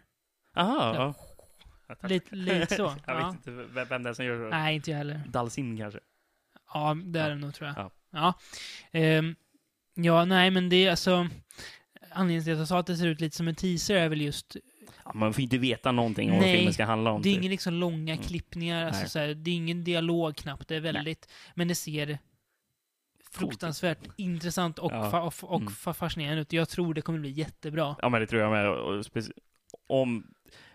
Aha, Ja. ja. Lite, lite så. jag ja. vet inte vem vem det är som gör så. Nej, inte jag heller. Dalsim kanske? Ja, det är Ja. det nog tror jag. Ja. Ja. Ja. Ehm, ja, nej men det är alltså... Anledningen till att jag sa att det ser ut lite som en teaser är väl just... Ja, man får inte veta någonting om vad Nej, filmen ska handla om. Det är typ. inga liksom långa Mm. klippningar, alltså, Nej. så här, det är ingen dialog knappt. Det är väldigt... Men det ser fruktansvärt intressant och, Ja. fa- och, och Mm. fa- fascinerande ut. Jag tror det kommer bli jättebra. Ja, men det tror jag med. Och speci- Om,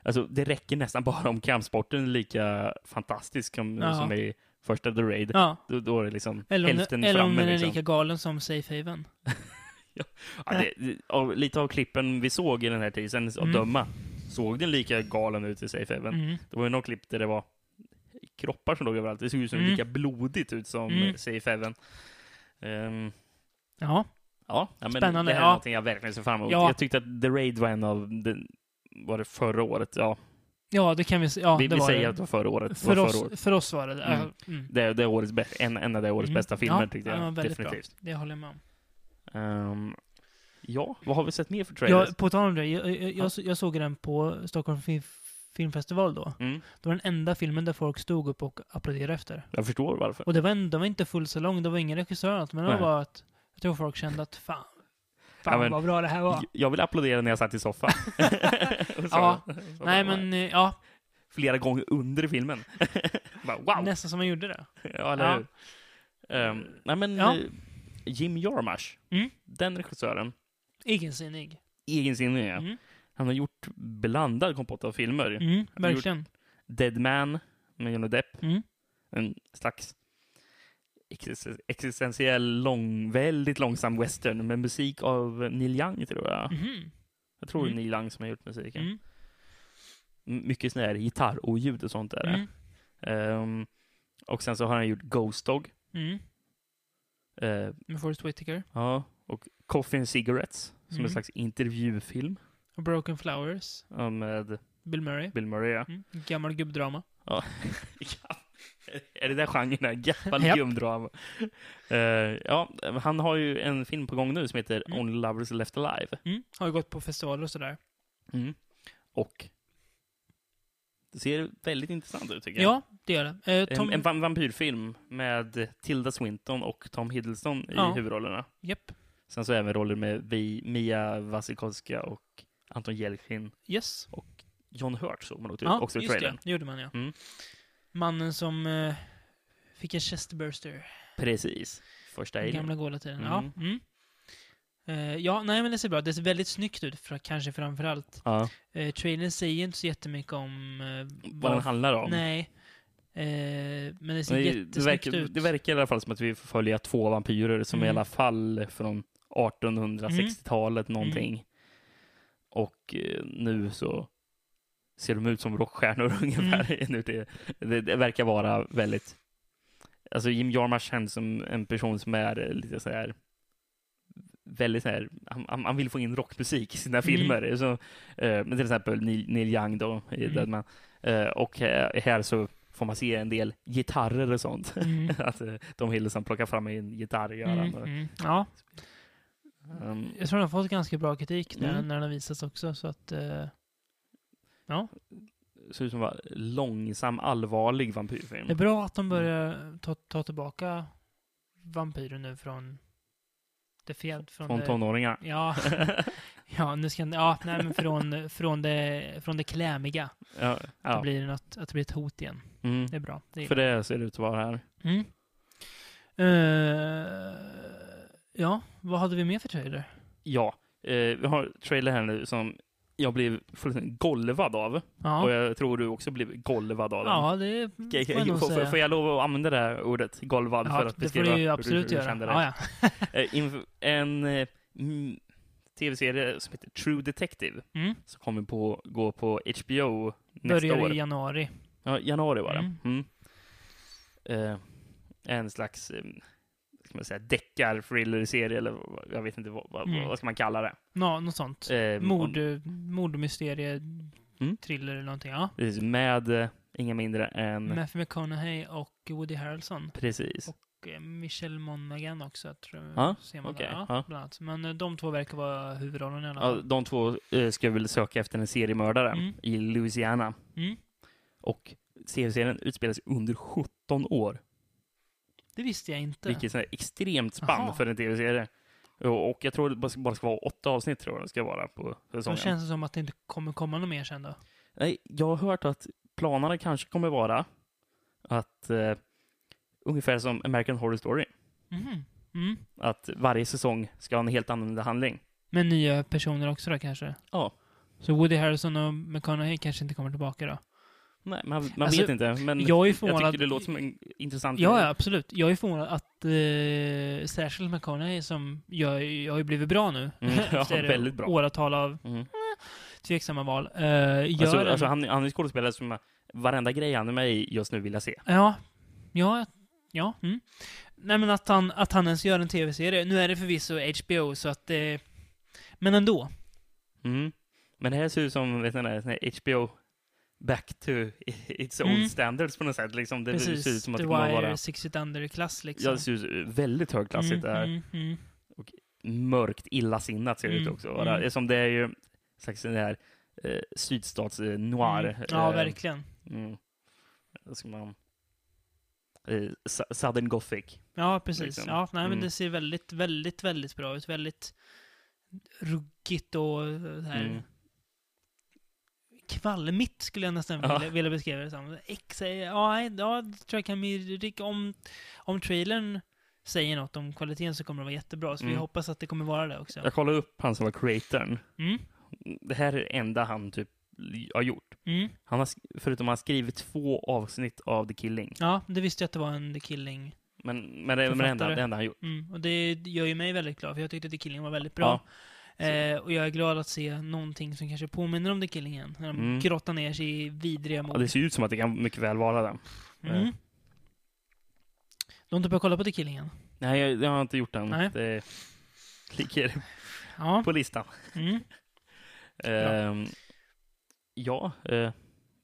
alltså, det räcker nästan bara om kampsporten är lika fantastisk som, Ja. som i första The Raid. Ja. Då, då är det liksom Eller om, hälften den, eller om framme. den är liksom. lika galen som Safe Haven. ja, det, det- av, lite av klippen vi såg i den här tisen, att Mm. döma, såg den lika galen ut i Safe Haven. Mm. Det var ju något klipp där det var kroppar som låg överallt. Det såg ut som Mm. lika blodigt ut som Mm. Safe Haven. Ehm, Ja. Ja, ja men Spännande, det här är ja. någonting jag verkligen ser fram emot. Ja. Jag tyckte att The Raid var en av, den, var det förra året? Ja, ja, det kan vi säga. Ja, vi, det vi var säger det. att det var förra året. Det var För förra oss, året. för oss var det det. Mm. Ja, mm. Det, det är årets bäst, en, en av det årets Mm. bästa filmer Ja, tyckte den var jag. väldigt bra. Definitivt. Det håller jag med om. Ehm, ja, vad har vi sett mer för trailers? Jag, på tal om det, jag, jag, jag, jag såg den på Stockholm Fi- filmfestival då. Mm, Det var den enda filmen där folk stod upp och applåderade efter. jag förstår varför. Och det var, en, det var inte full salong, det var ingen regissör eller något, men det var Nej. bara att Jag tror folk kände att fan, fan Ja, men- vad bra det här var. J- Jag vill applådera när jag satt i soffan. Och så- Ja, så- Nej, men eh, ja, Flera gånger under filmen. Bara, wow! nästan som man gjorde det. Ja, eller Ja. hur? Ehm, nej, men Ja. eh, Jim Jarmusch, Mm. den regissören, Egensinnig. egensinnig ja. Mm. Han har gjort blandad kompott av filmer. Mm, har gjort- verkligen. Dead Man med Johnny Depp, Mm. en slags exist- existentiell, lång, väldigt långsam western med musik av Neil Young, tror jag. Mhm. Jag tror det är Mm. Neil Young som har gjort musiken. Mm. M- Mycket sån här gitarroljud och sånt där. Mm. Ehm, och sen så har han gjort Ghost Dog. Mm. eh, Med Forrest Whitaker. Ja, och Coffee and Cigarettes, som Mm. en slags intervjufilm Och Broken Flowers. ja, med Bill Murray. Bill Murray. ja. Mm. Gammal gubbdrama. Ja. är det där genren? där? Gammal Japp. gumdrama. Eh, ja, han har ju en film på gång nu som heter Mm. Only Lovers Left Alive. Mm. Har ju gått på festivaler och sådär. Mm. Och det ser väldigt intressant ut tycker jag. Ja, det gör det. Eh, Tom... En, en va- vampyrfilm med Tilda Swinton och Tom Hiddleston i Ja. huvudrollerna. Japp. Sen så även roller med Vi, Mia Wasikowska och Anton Jelkin. Yes. John Hurt såg man också, Ja, också i just trailern. det. Det gjorde man, ja. Mm. Mannen som eh, fick en chestburster. Precis. Första Den alien. gamla goda tiden. Mm. Ja. Mm. Eh, ja, nej men det ser bra Det ser väldigt snyggt ut, för, kanske framförallt. Ja. Uh, trailern säger inte så jättemycket om... eh, Vad den handlar om. Nej. Eh, men det ser Men det, det, jättesnyggt verkar, ut. det verkar i alla fall som att vi får följa två vampyrer som i Mm. alla fall är från 1860-talet Mm. någonting. Och eh, nu så ser de ut som rockstjärnor ungefär. Mm. Nu det, det, det verkar vara väldigt... Alltså Jim Jarmusch känns som en person som är eh, lite så här väldigt så här, han- han, han vill få in rockmusik i Mm. sina filmer. Så, eh, men till exempel Neil, Neil Young då, i Mm. Deadman. Eh, och här, här så får man se en del gitarrer och sånt. Mm. att eh, de Hillesson plockar fram en gitarr gör han. Mm, mm. Ja, Ehm, jag tror den har fått ganska bra kritik när, Mm. när den har visats också, så att... eh, ser ut som en långsam, allvarlig vampyrfilm. Det är bra att de Mm. börjar ta, ta tillbaka vampyren nu från... Det fel, från, eh, Från det, tonåringar. Ja. ja, nu ska Ja, nej men från, från, det, från det klämiga. Ja, Det ja. blir något, att det blir ett hot igen. Mm. Det är bra. Det är För det ser det ut att vara här. Mm. Eh, ja, vad hade vi mer för trailer? Ja, eh, vi har trailer här nu som jag blev fullständigt golvad av. Och Ja, jag tror du också blev golvad av den. ja det Okej, får jag nog Får, får, säga. får jag lov att använda det här ordet, golvad, för Ja, att det får beskriva du ju hur, absolut du göra. kände det? Ja, ja. Eh, inför En eh, mm, tv-serie som heter True Detective Mm. som kommer på, gå på HBO nästa Börjar år. i januari. ja, januari var det. Mm. Mm. Eh, en slags eh, ska man säga, deckar-thriller-serie, eller vad- jag vet inte vad, vad, Mm. vad ska man kalla det? Nå, något sånt. Eh, Mord, om- mordmysterie, Mm. thriller eller någonting. Ja. precis, med eh, inga mindre än... Matthew McConaughey och Woody Harrelson. Precis. Och eh, Michelle Monaghan också, tror jag. Ja, ser man okej, där. Ja, ja. bland annat. Men eh, de två verkar vara huvudrollen i alla Ja, fall. de två eh, ska väl söka efter en seriemördare Mm. i Louisiana. Mm. Och serien utspelas under 17 år. Det visste jag inte. Vilket är extremt spann Jaha. för en tv-serie. Och och jag tror det bara ska- bara ska vara åtta avsnitt tror jag det ska vara på Då säsongen. känns det som att det inte kommer komma något mer sen då. Nej, jag har hört att planerna kanske kommer vara att eh, ungefär som American Horror Story. Mhm. Mm. Att varje säsong ska ha en helt annorlunda handling. Med nya personer också då kanske? Ja. Så Woody Harrelson och McConaughey kanske inte kommer tillbaka då? Nej, man, man Alltså, vet inte. Men jag, jag är tycker förvånad. det låter som en intressant Ja, grej. ja, absolut. Jag är förvånad att eh, särskilt McConaughey som jag, jag har ju blivit bra nu. Mm, ja, Efter väldigt bra. Åratal av Mm. tveksamma val. Eh, gör Alltså, en, alltså, han, han är skådespelare som varenda grej han är med i just nu vill jag se. Ja, ja, ja. Mm. Nej, men att han, att han ens gör en tv-serie. Nu är det förvisso HBO, så att eh, Men ändå. Mm. Men det här ser ut som vet ni, den här HBO back to its old Mm. standards på något sätt. Liksom, det Precis. ser ut som att The det kommer att Wire, vara... 60 Under-klass liksom. Ja, det ser ut väldigt högklassigt. det här. Mm, mm, Mörkt, illasinnat ser det ut Mm, också. att vara. mm. Som det är ju en slags den här eh, sydstats eh, mm. noir. Mm. Ja, eh, verkligen. Mm. Då ska man... eh, su- Southern Gothic. Ja, precis. Liksom. Ja, nej, men Mm. det ser väldigt, väldigt, väldigt bra ut. Väldigt ruggigt och det här. Mm. Kvalmigt skulle jag nästan Ja. vilja, vilja beskriva det som. Ex, ja, nej, ja, det tror jag kan bli, rik- om, om trailern säger något om kvaliteten så kommer det vara jättebra. Så vi Mm. hoppas att det kommer vara det också. Jag kollade upp han som var creatorn. Mm, Det här är det enda han typ har gjort. mm. Han har, sk- förutom att han skrivit två avsnitt av The Killing. Ja, det visste jag att det var en The Killing. Men, men det är men det enda, Författare. det enda han gjort. Mm. Och det gör ju mig väldigt glad, för jag tyckte att The Killing var väldigt bra. Eh, och jag är glad att se någonting som kanske påminner om The Killing igen. När de Mm. grottar ner sig i vidriga Ja, mord. det ser ut som att det kan mycket väl vara den. mm. Du har inte börjat kolla på The Killing än? Nej, jag, jag har inte gjort den. Nej. Det ligger Ja. på listan. Mm. Ehm, ja, eh,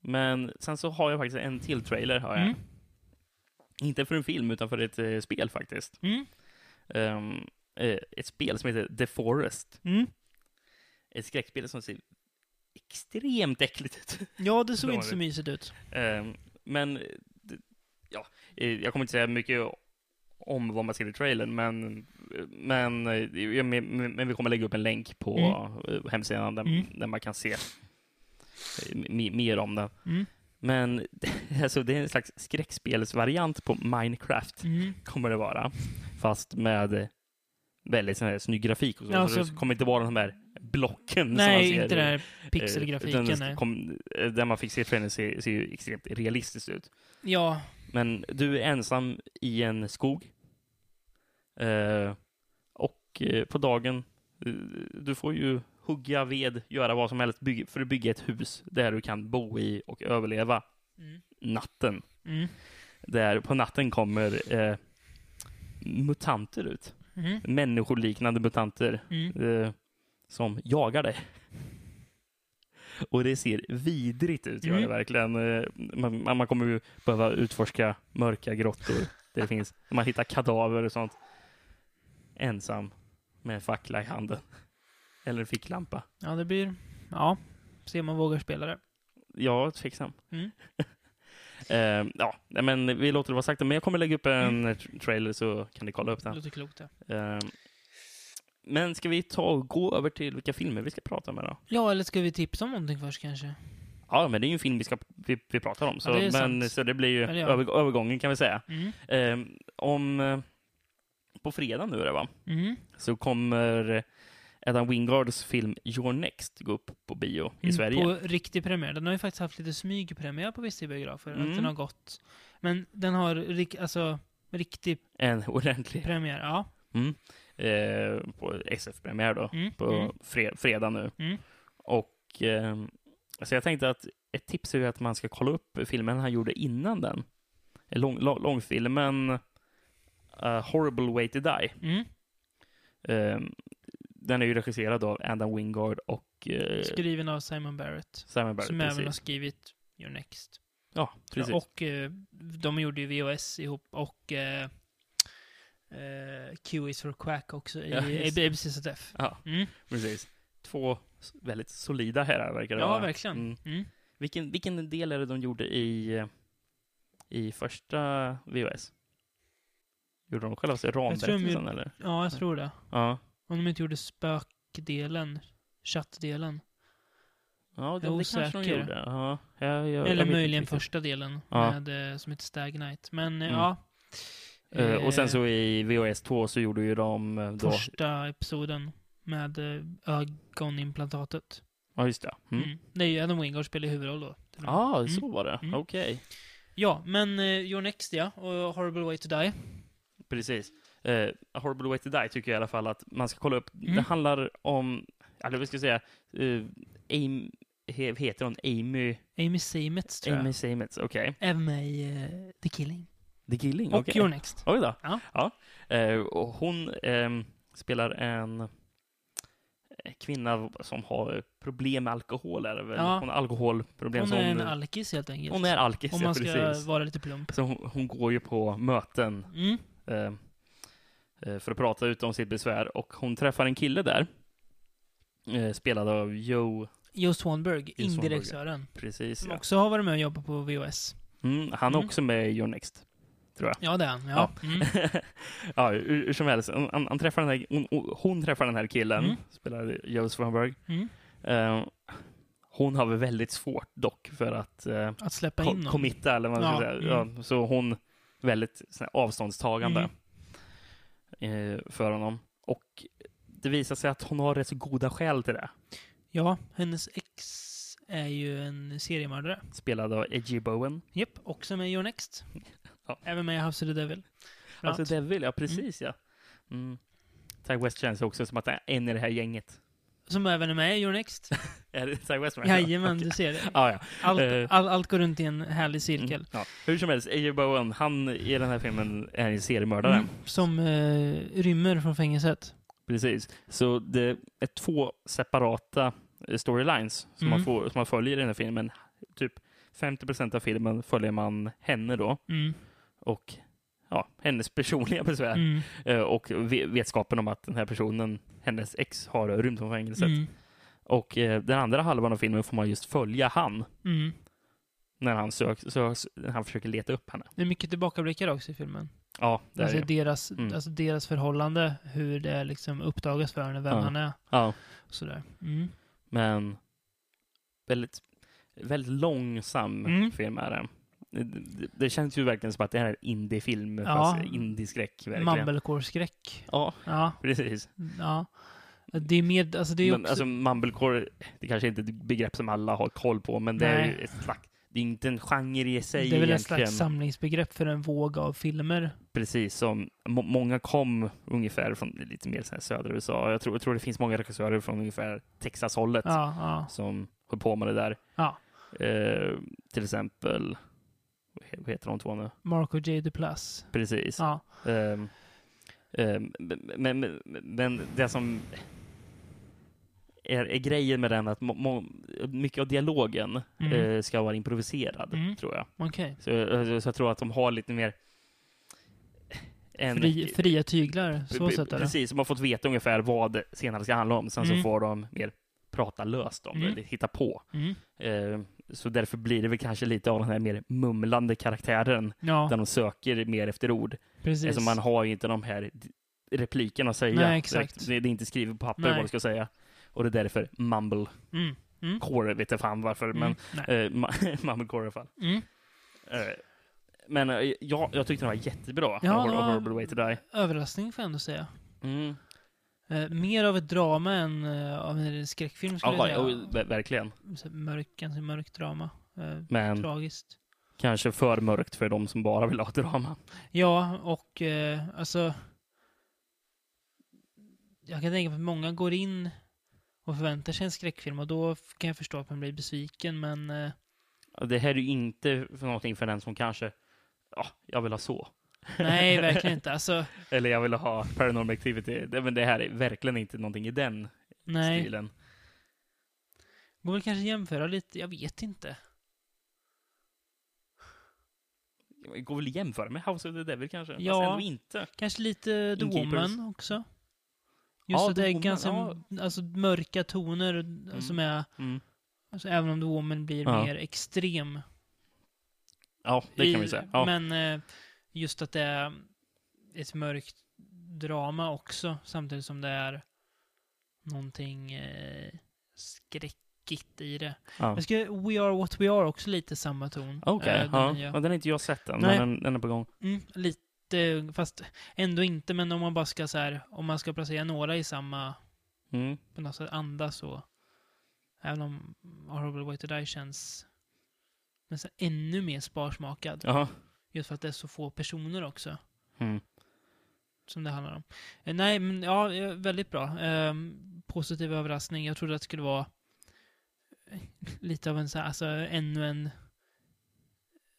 men sen så har jag faktiskt en till trailer. Har jag. Mm. Inte för en film, utan för ett eh, spel faktiskt. Mm. Ehm, eh, ett spel som heter The Forest. Mm. Ett skräckspel som ser extremt äckligt ut. Ja, det såg Bra inte så det. mysigt ut. Ehm, men, eh, det- ja, eh, jag kommer inte säga mycket om vad man ser i trailern, men, men, eh, ja, men, men men vi kommer lägga upp en länk på eh, hemsidan där, Mm. där man kan se eh, m- mer om den. Mm. Men alltså, det är en slags skräckspelsvariant på Minecraft, Mm. kommer det vara. Fast med eh, väldigt sån här snygg grafik och så. Ja, så det så- kommer inte vara de här blocken som man Nej, ser. inte den i- här pixelgrafiken. Eh, utan det nej. kom, eh, där man fick se trailern ser, ser ju extremt realistiskt ut. Ja. Men du är ensam i en skog. Eh, och eh, på dagen, eh, du får ju hugga ved, göra vad som helst bygg, för att bygga ett hus där du kan bo i och överleva Mm. natten. Mm. Där på natten kommer eh, mutanter ut. Mm. Människoliknande mutanter Mm. eh, som jagar dig. Och det ser vidrigt ut, gör det Mm. verkligen. Eh, Man, man man kommer ju behöva utforska mörka grottor. Det finns, man hittar kadaver och sånt. Ensam med en fackla i handen. Eller en ficklampa. Ja, det blir... Ja. Se om man vågar spela det. Jag är tveksam. Mm. Eh, ja, nej, men vi låter det vara sagt. Men jag kommer lägga upp en tra- trailer så kan ni kolla upp Det den. låter klokt det. Eh, men ska vi ta och gå över till vilka filmer vi ska prata med då? Ja, eller ska vi tipsa om någonting först kanske? Ja, men det är ju en film vi, ska, vi, vi pratar om, så, Ja, det är men, sant. så det blir ju Ja, det gör över, övergången kan vi säga. Mm. Eh, om, eh, på fredag nu är det va, Mm. så kommer Adam Wingards film Your Next gå upp på bio i Mm, Sverige. På riktig premiär. Den har ju faktiskt haft lite smygpremiär på vissa biografer. Mm. Att den har gått. Men den har rik, alltså, riktig En ordentlig premiär. Ja. eh, på SF-premiär då, Mm. på Mm. fre, fredag nu. Mm. Och eh, så jag tänkte att ett tips är ju att man ska kolla upp filmen han gjorde innan den. Lång, lång, långfilmen eh, Horrible Way to Die. Mm. Eh, den är ju regisserad av Adam Wingard och eh, Skriven av Simon Barrett. Simon Barrett. som även har Precis. skrivit Your Next. Ja, precis. Och eh, de gjorde ju VOS ihop och eh, eh, Q is for Quack också i Ja, ja, just ABCZF. Ja, Mm. precis. Två s- väldigt solida herrar verkar det Ja, vara. verkligen. Mm. Mm. Vilken, vilken del är det de gjorde i, eh, i första VHS? Gjorde de själva sig ramberättelsen gjorde- eller? Ja, jag tror det. Ja. Om de inte gjorde spökdelen, chattdelen. Ja, det, Jag är det kanske de osäker. gjorde. Ja, jag, jag, jag Eller vet möjligen inte riktigt. första delen Ja. med, eh, som heter Stag Night. Men eh, Mm. ja. Eh, och sen Eh, så i VHS 2 så gjorde ju de eh, då... Första episoden med eh, ögonimplantatet. Ja, just det. Mm. Mm. Det är ju Adam Wingard spelar i huvudroll då. Ja, ah, så var det. Mm. Okej. Ja, men eh, Your Next ja, och Horrible Way to Die. Precis. Eh, A Horrible Way to Die tycker jag i alla fall att man ska kolla upp. Mm. Det handlar om, eller vad ska jag säga, uh, Amy, he- heter hon Amy? Amy Seymetz tror Amy jag. Seymetz, okej. Är med i eh, The Killing. The Killing, Och okej. Your Next. Oj då. Ja. Eh, och hon ehm, spelar en kvinna som har problem med alkohol, är det väl? Ja. Hon har alkoholproblem. Hon så är en alkis helt enkelt. hon är alkis, Om ja, man ska precis. vara lite plump. Så hon, hon går ju på möten Mm. eh, eh, för att prata ut om sitt besvär. Och hon träffar en kille där, eh, spelad av Joe, Joe Swanberg, Joe Swanberg. indirektören. precis. Som Ja. också har varit med och jobbat på VOS. Mm, han är Mm. också med i Your Next. tror jag. Ja, det är han. Ja. Mm. ja, hur, hur som helst, han, han, han träffar den här, hon, hon träffar den här killen, Mm. spelar Josef Hamburg. Mm. Eh, hon har väl väldigt svårt dock för att eh, Att släppa in ko- någon. committa, eller vad man ska Ja, Mm. säga. Ja, så hon väldigt sån här, avståndstagande Mm. eh, för honom. Och det visar sig att hon har rätt så goda skäl till det. Ja, hennes ex är ju en seriemördare. Spelad av Edgy Bowen. Japp, också med i Your Next. Ja. Även med i House of the Devil. Bland Alltså Devil, ja precis ja. Mm. Ty West känns också som att det är en i det här gänget. annat. Som även är med i Your Next. Är det Ty West med? Jajamän, du ser det. Ja, ja. Allt, Eh. all, allt går runt i en härlig Mm. cirkel. ja. Hur som helst, Edgy Bowen, han i den här filmen är en seriemördare. Mm. Som eh, rymmer från fängelset. Precis. Så det är två separata eh, storylines som, Mm. man får, som man följer i den här filmen. Typ 50 av filmen följer man henne då Mm. och ja, hennes personliga besvär Mm. eh, och ve- vetskapen om att den här personen, hennes ex, har rymt från fängelset. Mm. Och eh, den andra halvan av filmen får man just följa han Mm. när han, sök, sök, när han försöker leta upp henne. Det är mycket tillbakablickar också i filmen. Ja, det är alltså, det. deras, Mm. alltså deras förhållande, hur det liksom uppdagas för henne, vem Ja. han är. Ja, och Sådär. Mm. men väldigt, väldigt långsam Mm. film är den. Det, det, det känns ju verkligen som att det här är en indiefilm, Ja. fast indieskräck verkligen. Mumblecore-skräck. Ja, Ja, precis. ja. Det är mer, alltså det är Men också... alltså mumblecore, det kanske inte är ett begrepp som alla har koll på, men det är Nej. ju ett slags, det är inte en genre i sig Det är väl ett egentligen. slags samlingsbegrepp för en våg av filmer. Precis som må- många kom ungefär från lite mer så här södra USA. Jag tror, jag tror det finns många regissörer från ungefär Texas-hållet Ja, ja. som höll på med det där. Ja. Eh, till exempel, vad he- vad heter de två nu? Marco J. Duplass. Precis. Ja. Ehm, ehm, men, men, men det som är, är grejen med den är att må, må, mycket av dialogen Mm. eh, ska vara improviserad, Mm. tror jag. Okej. Så, eh, så jag tror att de har lite mer... en- Fri, fria tyglar, så Pre- sätt är det. Precis, de har fått veta ungefär vad det senare ska handla om. Sen Mm. så får de mer prata löst om det, Mm. eller hitta på. Mm. Eh, så därför blir det väl kanske lite av den här mer mumlande karaktären, där Ja, de söker mer efter ord. precis. Eftersom man har ju inte de här d- replikerna att säga. Nej, exakt. direkt. Det, det är inte skrivet på papper Nej. vad du ska säga. Och det är därför mumblecore, Mm. Mm. vet jag fan varför, Mm. men Nej. eh, ma- mumblecore i alla fall. Mm. Eh, men eh, ja, jag tyckte den var jättebra, Ja, Hor- det var- Horrible Way to Die. Överraskning får jag ändå säga. Mm. Eh, mer av ett drama än eh, av en skräckfilm skulle Ja, jo, jag säga. ver- verkligen. Så Mörk, ganska mörkt drama. Eh, Men Tragiskt. Kanske för mörkt för de som bara vill ha drama. Ja, och eh, alltså... Jag kan tänka mig att många går in och förväntar sig en skräckfilm och då f- kan jag förstå att man blir besviken, men... Eh, Det här är ju inte för någonting för den som kanske, ja, jag vill ha så. nej, verkligen inte. Alltså, Eller jag vill ha Paranormal Activity. Det, men det här är verkligen inte någonting i den nej. stilen. Går väl kanske jämföra lite, jag vet inte. Det går väl att jämföra med House of the Devil kanske? Fast Ja. ändå inte. Kanske lite The Innkeepers. Woman också. Just Ja, att The det är Woman, ganska ja. alltså, mörka toner eh, som är... Mm. Alltså, även om The Woman blir Ja. mer extrem. Ja, det kan i- vi säga. Ja. Men eh, just att det är ett mörkt drama också, samtidigt som det är någonting eh, skräckigt i det. ja. Jag ska, We Are What We Are också lite samma ton. Okej, eh, den ja. nya. ja. Den har inte jag sett än, Nej. men den, den är på gång. Mm, lite, fast ändå inte, men om man bara ska så här, om man ska placera några i samma Mm. på något sätt anda så. Även om A Horrible Way To Die känns nästan ännu mer sparsmakad. Jaha. Just för att det är så få personer också Mm. som det handlar om. Eh, nej, men ja, eh, väldigt bra. Eh, positiv överraskning. Jag trodde att det skulle vara eh, lite av en så här, alltså ännu en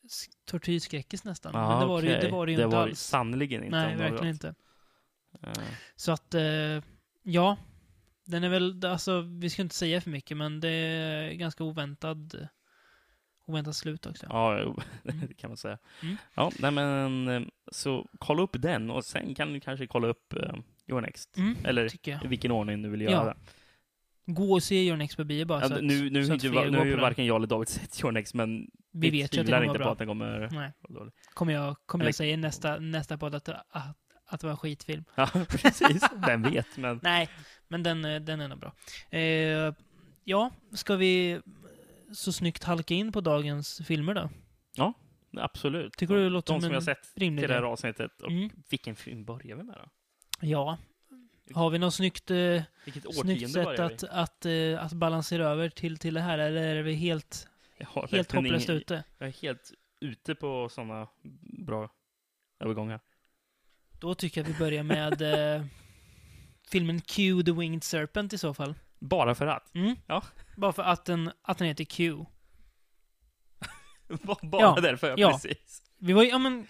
s- tortyrskräckis nästan. men Ja, det var, det, ju- det Ah, okej. var det ju det inte var alls. sannerligen inte. Nej, om verkligen något. inte. Eh, Så att, eh, ja. Den är väl, alltså vi ska inte säga för mycket, men det är ganska oväntad, oväntat slut också. Ja, jo, Mm. det kan man säga. Mm. Ja, nej men eh, så kolla upp den och sen kan du kanske kolla upp uh, Your Next. Mm, Eller tycker jag. i vilken ordning du vill Ja, göra. Gå och se Your Next på bio bara. Ja, så att, nu nu, så är att inte, fler va- nu går har ju på den. varken jag eller David sett Your Next, men vi vet ju att det kommer inte vara på bra. Mm. att den kommer Nej. vara dålig. Kommer jag, kommer Eller- jag säga i nästa, nästa podd att, att, att det var en skitfilm? Ja, precis. Vem vet, men... Nej, men den, eh, den är nog bra. Eh, ja, ska vi så snyggt halka in på dagens filmer då? Absolut. Tycker du det låter De som som en jag sett rimlig till det här idé? avsnittet. Och Mm. Vilken film börjar vi med då? Ja. Har vi något snyggt, eh, Vilket snyggt årtionde sätt börjar vi? att, att, eh, att balansera över till, till det här? Eller är vi helt, Jag har helt verkligen hopplöst ingen- ute? Jag är helt ute på sådana bra övergångar. Då tycker jag vi börjar med eh, filmen Q, The Winged Serpent i så fall. Bara för att. Mm. Ja. Bara för att den, att den heter Q. Bara Ja, därför, ja. ja. precis. Vi var ju, ja men,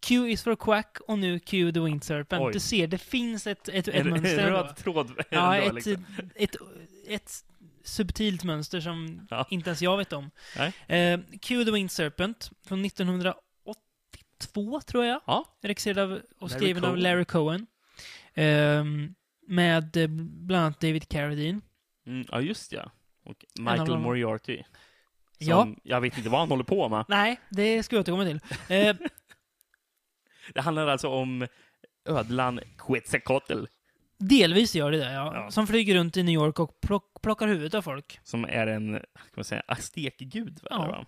Q is for Quack och nu Q the Winged Serpent. Oj. Du ser, det finns ett, ett, ett En, en mönster. ändå. röd tråd. ja, ändå, ett, liksom. ett, ett subtilt mönster som Ja. inte ens jag vet om. Eh, Q the Winged Serpent från 1982, tror jag. Ja. Regisserad av, och Larry skriven av Cohen. Larry Cohen. Ehm, med eh, bland annat David Carradine. Mm, ja, just ja. Och av Michael dem. Moriarty. Ja. Som, Jag vet inte vad han håller på med. Nej, det ska jag återkomma till. Eh, Det handlar alltså om ödlan Quetzalcoatl delvis gör det det, ja. Ja. Som flyger runt i New York och plock, plockar huvudet av folk. som är en, ska man säga, aztekgud, va? Ja. Eller va?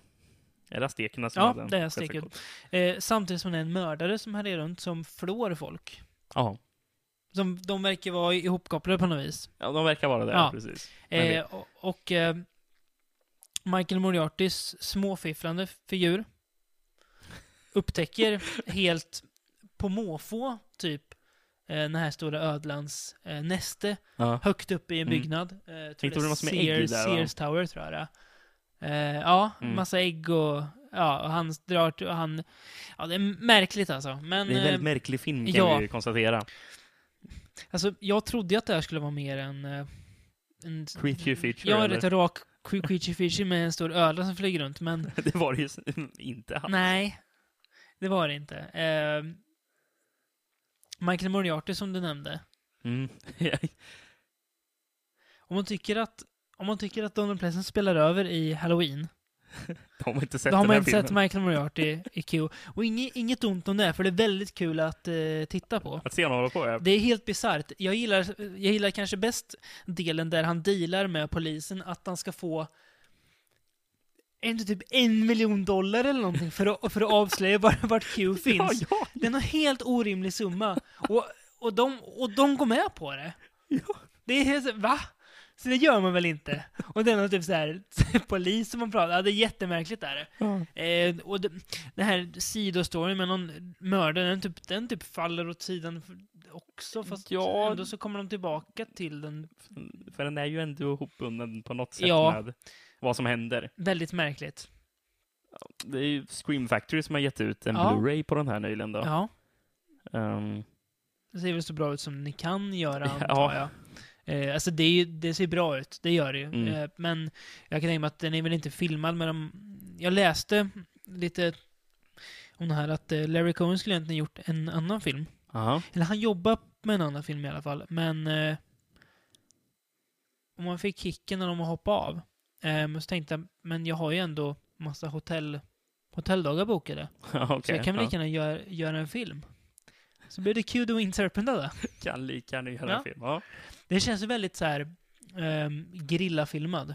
Är det aztekerna som Ja, hade en det är azteker. Quetzalcoatl? Eh, samtidigt som det är en mördare som härjar runt som flår folk. Ja. Som, de verkar vara ihopkopplade på något vis. ja, de verkar vara det, Ja. precis. Men det- Eh, och och eh, Michael Moriartys småfifflande figur upptäcker helt på måfå, typ, eh, den här stora ödlans eh, näste Ja. högt uppe i en Mm. byggnad. Eh, jag Tänkte det var massor med ägg Sears, där, va? Sears Tower, tror jag det är. Eh, Ja, Mm. massa ägg och... Ja, och han drar till... och Han, ja, det är märkligt alltså. Men... Det är en eh, väldigt märklig film, kan ja. vi ju konstatera. Alltså, jag trodde ju att det här skulle vara mer en... eh, en Creature feature, Ja, eller? rätt rak cre- creature feature med en stor ödla som flyger runt, men Det var det ju s- inte alls. nej. Det var det inte. Eh, Michael Moriarty som du nämnde. Mm. Om man tycker att, om man tycker att Donald Pleasant spelar över i Halloween, De har inte sett då har den man här inte filmen. sett Michael Moriarty i Q. Och inget, inget ont om det, för det är väldigt kul att eh, titta på. Att se honom hålla på, ja. Det är helt bisarrt. Jag gillar, jag gillar kanske bäst delen där han dealar med polisen att han ska få inte typ en miljon dollar eller någonting för att, för att avslöja var, vart Q Ja, finns. ja, Det är en helt orimlig summa. Och, och, de, och de går med på det. ja. Det är helt så- va? Så det gör man väl inte? Och det är någon typ så här polis som man pratar, ja det är jättemärkligt där. Eh, och det, den här sidostoryn med någon mördare, den typ, den typ faller åt sidan för- också, fast Ja. ändå så kommer de tillbaka till den. För den är ju ändå hopbunden på något sätt Ja. med vad som händer. Väldigt märkligt. Det är ju Scream Factory som har gett ut en Ja. Blu-ray på den här nyligen då. Ja. Ehm, Det ser väl så bra ut som ni kan göra, Ja. antar jag. Eh, alltså det, är ju, det ser bra ut, det gör det ju. Mm. Eh, men jag kan tänka mig att den är väl inte filmad med de... Jag läste lite om det här att eh, Larry Cohen skulle egentligen gjort en annan film. aha. Eller han jobbar med en annan film i alla fall, men... Eh, om man fick kicken när de hoppade av. Eh, men så tänkte jag, men jag har ju ändå massa hotell, hotelldagar bokade. Ja, Så okej. jag kan väl Ja. lika gärna göra, göra en film. Så blev det Q the Winged Serpent av det. kan lika gärna göra en Ja. film. Ja. Det känns ju väldigt så här ehm, grillafilmad.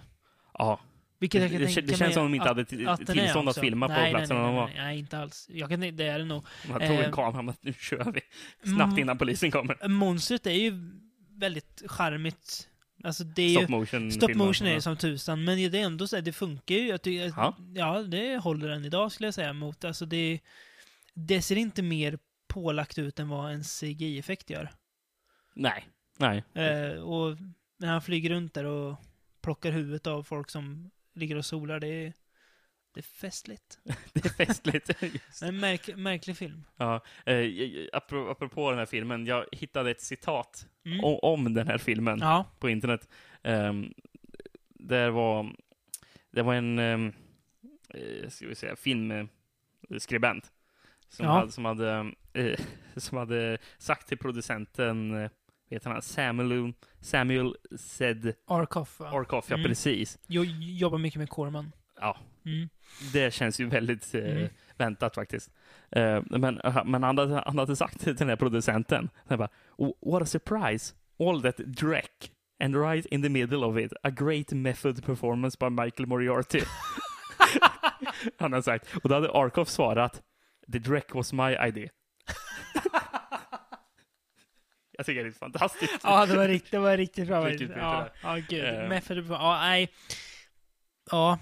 ja. Vilket Det, jag kan det, tänka det känns mig som om de inte att- hade till, att den är tillstånd att också. filma på nej, platsen nej, de nej, var. nej, nej, inte alls. Jag kan, tänka- det är det nog. Man tog en Eh. kamera men nu kör vi. Snabbt Mm. innan polisen kommer. Monstret är ju väldigt charmigt. Alltså det är ju... Stop motion Stop motion är ju som tusan, men det är ändå så här, det funkar ju. Jag tycker, Ja. ja. ja, det håller den idag skulle jag säga mot. Alltså det, det ser inte mer pålagt ut än vad en CGI-effekt gör. Nej. Nej. Eh, och när han flyger runt där och plockar huvudet av folk som ligger och solar, det är, det är festligt. Det är festligt. Just. En märk, märklig film. Ja, eh, jag- apro- apropå den här filmen, jag hittade ett citat Mm. o- om den här filmen Ja. på internet. Um, där var, det var en, ehm, eh, ska vi säga, filmskribent som, Ja. hade, som, hade, ehm, eh, som hade sagt till producenten, eh, vet han, Samuel, Samuel Zed Arkoff, va? Arkoff, ja Mm. precis. Jag jobbar mycket med Corman. Ja, Mm. Det känns ju väldigt eh, Mm. väntat faktiskt. Eh, men men han, hade, han hade sagt till den här producenten, han bara, "Oh, what a surprise, all that dreck. And right in the middle of it, a great method performance by Michael Moriarty. han har sagt. Och då hade Arkoff svarat, the dreck was my idea. Jag tycker det är fantastiskt. Ja, det var riktigt, det var riktigt bra. Riktigt bra, ja, ja, gud. Eh. Method, ja, nej. Ja,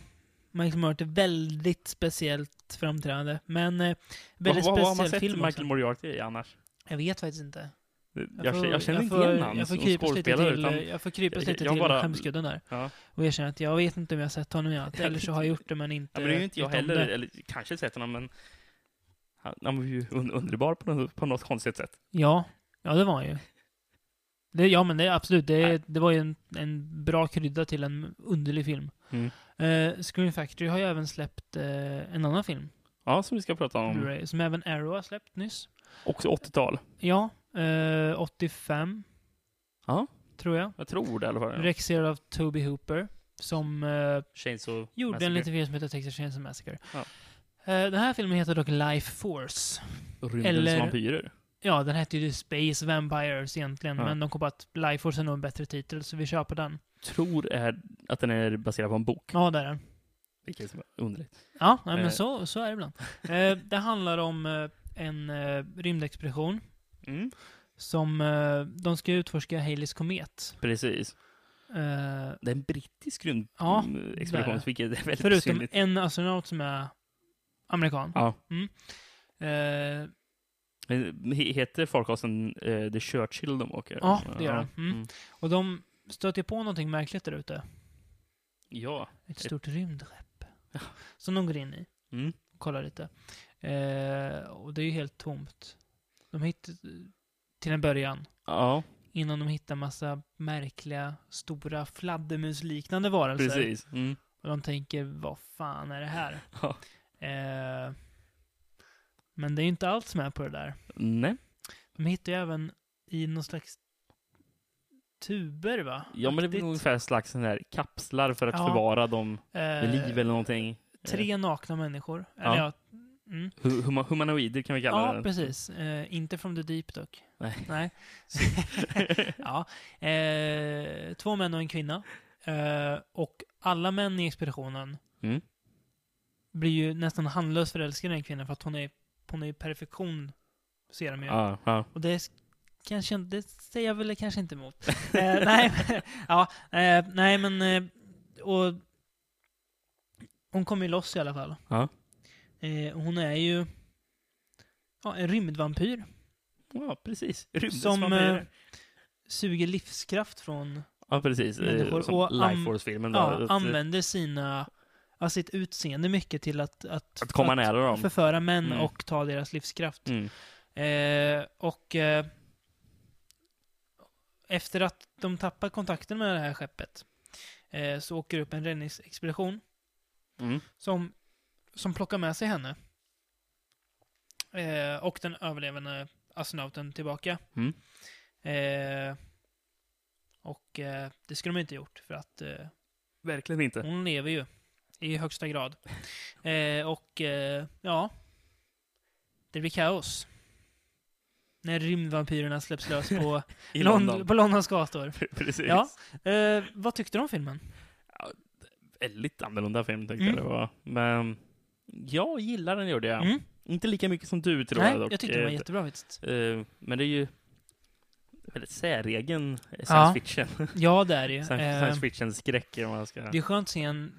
Michael Murray, väldigt speciellt framträdande. Men eh, väldigt vad, vad, vad har man speciell sett film också. Michael Moriarty i annars? Jag vet faktiskt inte. Jag, Jag får- jag känner inte får- igen han Jag får som krypas lite skådespelare. till, eh, Utan, jag får krypas jag- lite jag till bara- skämskudden där. ja. Och erkänna att jag vet inte om jag har sett honom i allt, eller så har jag gjort det men inte Ja, men det är ju inte jag vet om heller, Eh, det. eller kanske sett honom, men han, han var ju un- underbar på något, på något konstigt sätt. Ja, ja det var han ju. Det, ja men det är absolut, det, Nej. det var ju en, en bra krydda till en underlig film. Mm. Eh, Screen Factory har ju även släppt eh, en annan film, Ja, som vi ska prata om. Blu-ray, som även Arrow har släppt nyss. Också 80-tal. Ja, eh, 85. Ja. Tror jag. Jag tror det i alla fall. Regisserad av Toby Hooper, som eh, Chainsaw gjorde en Massacre. liten film som heter Texas Chainsaw Massacre. Ja. Eh, den här filmen heter dock Life Force. Rymdens eller- vampyrer. Ja, den hette ju The Space Vampires egentligen, Ja. men de kom på att Life Force är nog en bättre titel, så vi kör på den. Tror är att den är baserad på en bok. Ja, där är den. Vilket som är underligt. Ja, nej, men Eh. så, så är det ibland. eh, det handlar om eh, en eh, rymdexpedition Mm. som eh, de ska utforska Haleys komet. Precis. Eh, Det är en brittisk Ja, rymdexpedition, där. vilket är väldigt förutom synligt. en astronaut som är amerikan. Ja. Eh, Men he- Heter farkosten eh, The Churchill de åker? Ja, det gör den. Mm. Mm. och de stöter på någonting märkligt där ute. Ja. Ett stort rymdskepp. Som de går in i Mm. och kollar lite. Eh, och det är ju helt tomt. De hittar till en början. Ja, Innan de hittar massa märkliga, stora fladdermusliknande varelser. precis. Mm. Och de tänker, vad fan är det här? Ja. Eh, men det är ju inte allt som är på det där. Nej. De hittar ju även i någon slags tuber, va? Ja, men det är Aktigt. väl ungefär slags sån där kapslar för att Ja. förvara dem med Eh, liv eller någonting. Tre nakna människor. Eller ja. Ja. Mm. Hu- huma- humanoider kan vi kalla Ja, det. precis. Eh, inte from the deep dock. Nej. Nej. ja. Eh, två män och en kvinna. Eh, och alla män i expeditionen Mm. blir ju nästan handlöst förälskade i den kvinnan för att hon är, hon är i perfektion, ser de ju. Ja, ja. Och det är s- kanske inte, det säger jag väl kanske inte emot. eh, nej, men- ja, eh, nej men, eh, och hon kommer ju loss i alla fall. Ja. Eh, och hon är ju ja, en rymdvampyr ja precis. Rymdens Som, vampyrer. eh, suger livskraft från, ja, precis. Eh, människor Som och am- Life Force-filmen var. ja, Att, eh, använder sina, ja, sitt utseende mycket till att, att, att komma nära dem. förföra män Mm. och ta deras livskraft. Mm. Eh, och eh, efter att de tappar kontakten med det här skeppet eh, så åker upp en räddningsexpedition Mm. som, som plockar med sig henne. Eh, och den överlevande astronauten tillbaka. Mm. Eh, och eh, det skulle de inte gjort för att eh, Verkligen inte. hon lever ju i högsta grad. Eh, och eh, ja, det blir kaos. När rymdvampyrerna släpps lös på, I Lond- London. på Londons gator. precis. Ja. Eh, vad tyckte du om filmen? Väldigt annorlunda film tyckte Mm. jag det var. Men jag gillar den gjorde jag. Mm? Inte lika mycket som du tror Nej, jag dock. jag tyckte den var Eh, jättebra faktiskt. eh, Men det är ju väldigt säregen science Ja. fiction. Ja, det är det ju. Science, Eh, science fiction-skräck om man ska... det är skönt att se en,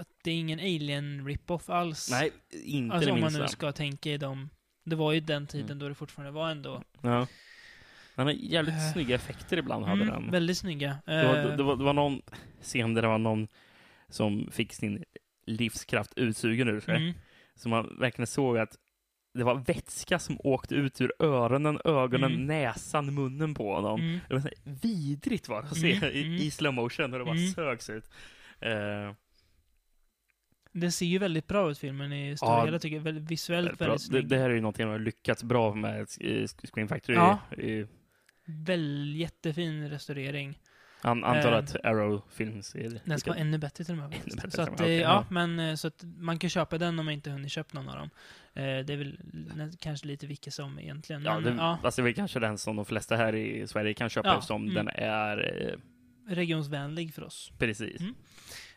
att det är ingen alien rip-off alls. Nej, inte alltså det om man minsta. nu ska tänka i dem. Det var ju den tiden Mm. då det fortfarande var ändå. Ja. Han har jävligt Eh. snygga effekter ibland, hade Mm, den. väldigt snygga. Det var, Eh, det, var, det var någon scen där det var någon som fick sin livskraft utsugen ur sig. mm, Så man verkligen såg att det var vätska som åkte ut ur öronen, ögonen, Mm. näsan, munnen på honom. mm. Det var så här vidrigt var det att se Mm, mm. i, i slow motion och det bara Mm. sögs ut. Eh, Det ser ju väldigt bra ut filmen i stora Ja, hela tycker jag. Väldigt visuellt bra. väldigt det, snygg. det här är ju någonting de har lyckats bra med, eh, Screen Factory. Ja. I, Väl, jättefin restaurering. Han antar Eh, att Arrow finns i... Den ska vara ännu bättre till och med. faktiskt. bättre så till och med, att, eh, okej, ja, ja. men, eh, så att man kan köpa den om man inte hunnit köpa någon av dem. Eh, Det är väl nä- kanske lite vilka som egentligen. Ja, men, det, ja, Alltså, det är väl kanske den som de flesta här i Sverige kan köpa Ja, eftersom mm. den är eh, regionsvänlig för oss. precis. Mm.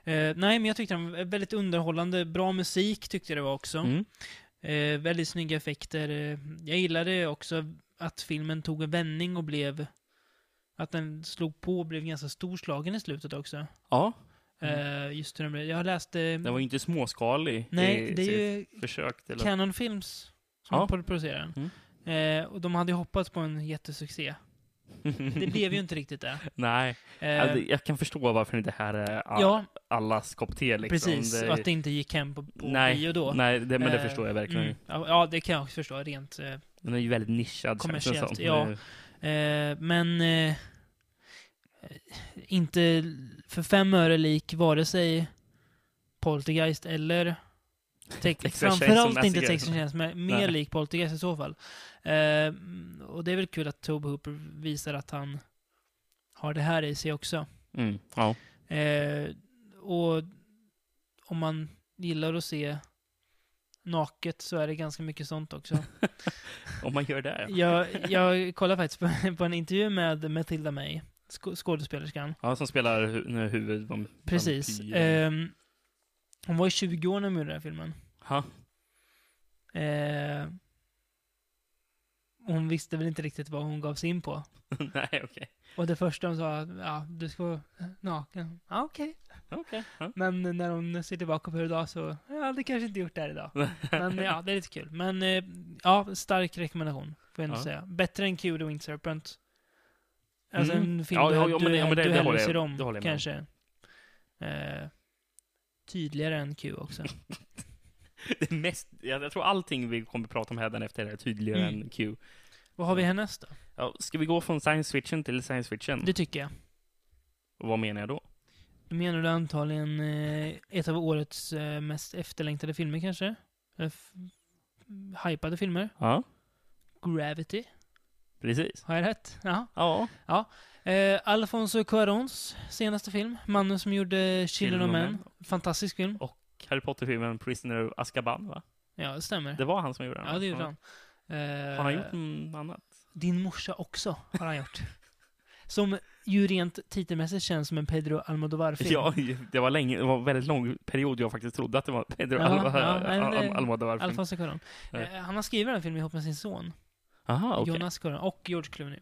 Eh, nej, men jag tyckte den var väldigt underhållande. Bra musik tyckte jag det var också. Mm. Eh, väldigt snygga effekter. Eh, Jag gillade också att filmen tog en vändning och blev... Att den slog på och blev ganska storslagen i slutet också. Ja, Eh, just hur den blev. Jag har läst... Eh, den Mm. var ju inte småskalig nej, i det sitt är ju försök till att... Canon Films Ja. som Mm. ja. producerar den. Eh, och de hade ju hoppats på en jättesuccé. Det blev ju inte riktigt det. Nej, Eh, alltså, jag kan förstå varför det inte här är all, ja, allas kopp te. Liksom. precis. Det- Och att det inte gick hem på, på nej, bio då. Nej, det, men det Eh, förstår jag verkligen. Mm. Ja, ja, det kan jag också förstå. Rent... Eh, Den är ju väldigt nischad. känns det Kommersiellt, som. ja. Det- Eh, men eh, eh, inte för fem öre lik vare sig Poltergeist eller Texas Tex- Chainsaw framförallt Massacre. inte Texas Chainsaw men mer Nej. lik Poltergeist i så fall. Eh, och det är väl kul att Tobe Hooper visar att han har det här i sig också. Mm, ja. Eh, och om man gillar att se naket så är det ganska mycket sånt också. Om man gör det. Ja, Jag, jag kollade faktiskt på, på en intervju med Matilda May, sk- skådespelerskan. ja som spelar hu- nu huvud... vam- Precis. vampyr. Ehm, hon var ju 20 år när hon gjorde den här filmen. Ha. Ehm, hon visste väl inte riktigt vad hon gav sig in på. Nej, okej. Och det första hon sa, ja, du ska vara naken. Ja, okej. Okej. Ja. Men när hon ser tillbaka på det idag så, jag hade kanske inte gjort det här idag. Men ja, det är lite kul. Men eh, ja, stark rekommendation, får jag ändå Ja. säga. Bättre än Q the Wind Serpent. Alltså Mm. en film Ja, du, ja, ja, men du, det- ja, men det- du det hellre håller jag- ser det håller om, jag med om. kanske. Eh, tydligare än Q också. Det är mest, jag, jag tror allting vi kommer prata om här efter är tydligare Mm. än Q. Vad har vi härnäst då? Ja, ska vi gå från science fiction till science fiction? Det tycker jag. Och vad menar jag då? Då menar du antagligen eh, ett av årets eh, mest efterlängtade filmer kanske? Eh, f- hypade filmer? Ja, Gravity? precis. Har jag rätt? Ja. Ja, Eh, Alfonso Cuarons senaste film, mannen som gjorde Children of Men. Fantastisk film. Harry Potter-filmen Prisoner of Azkaban, va? Ja, det stämmer. Det var han som gjorde den. ja, va? det gjorde han. Eh, Har han gjort något annat? Din morsa också, har han gjort. som ju rent titelmässigt känns som en Pedro Almodovar-film. Ja, det var länge, det var en väldigt lång period jag faktiskt trodde att det var Pedro Ja, Alva- ja, nej, men det- Al- Almodovar-film. Alfonso Cuarón. Ja. Eh, han har skrivit den filmen ihop med sin son, Aha, okej. Jonas Cuarón, och George Clooney.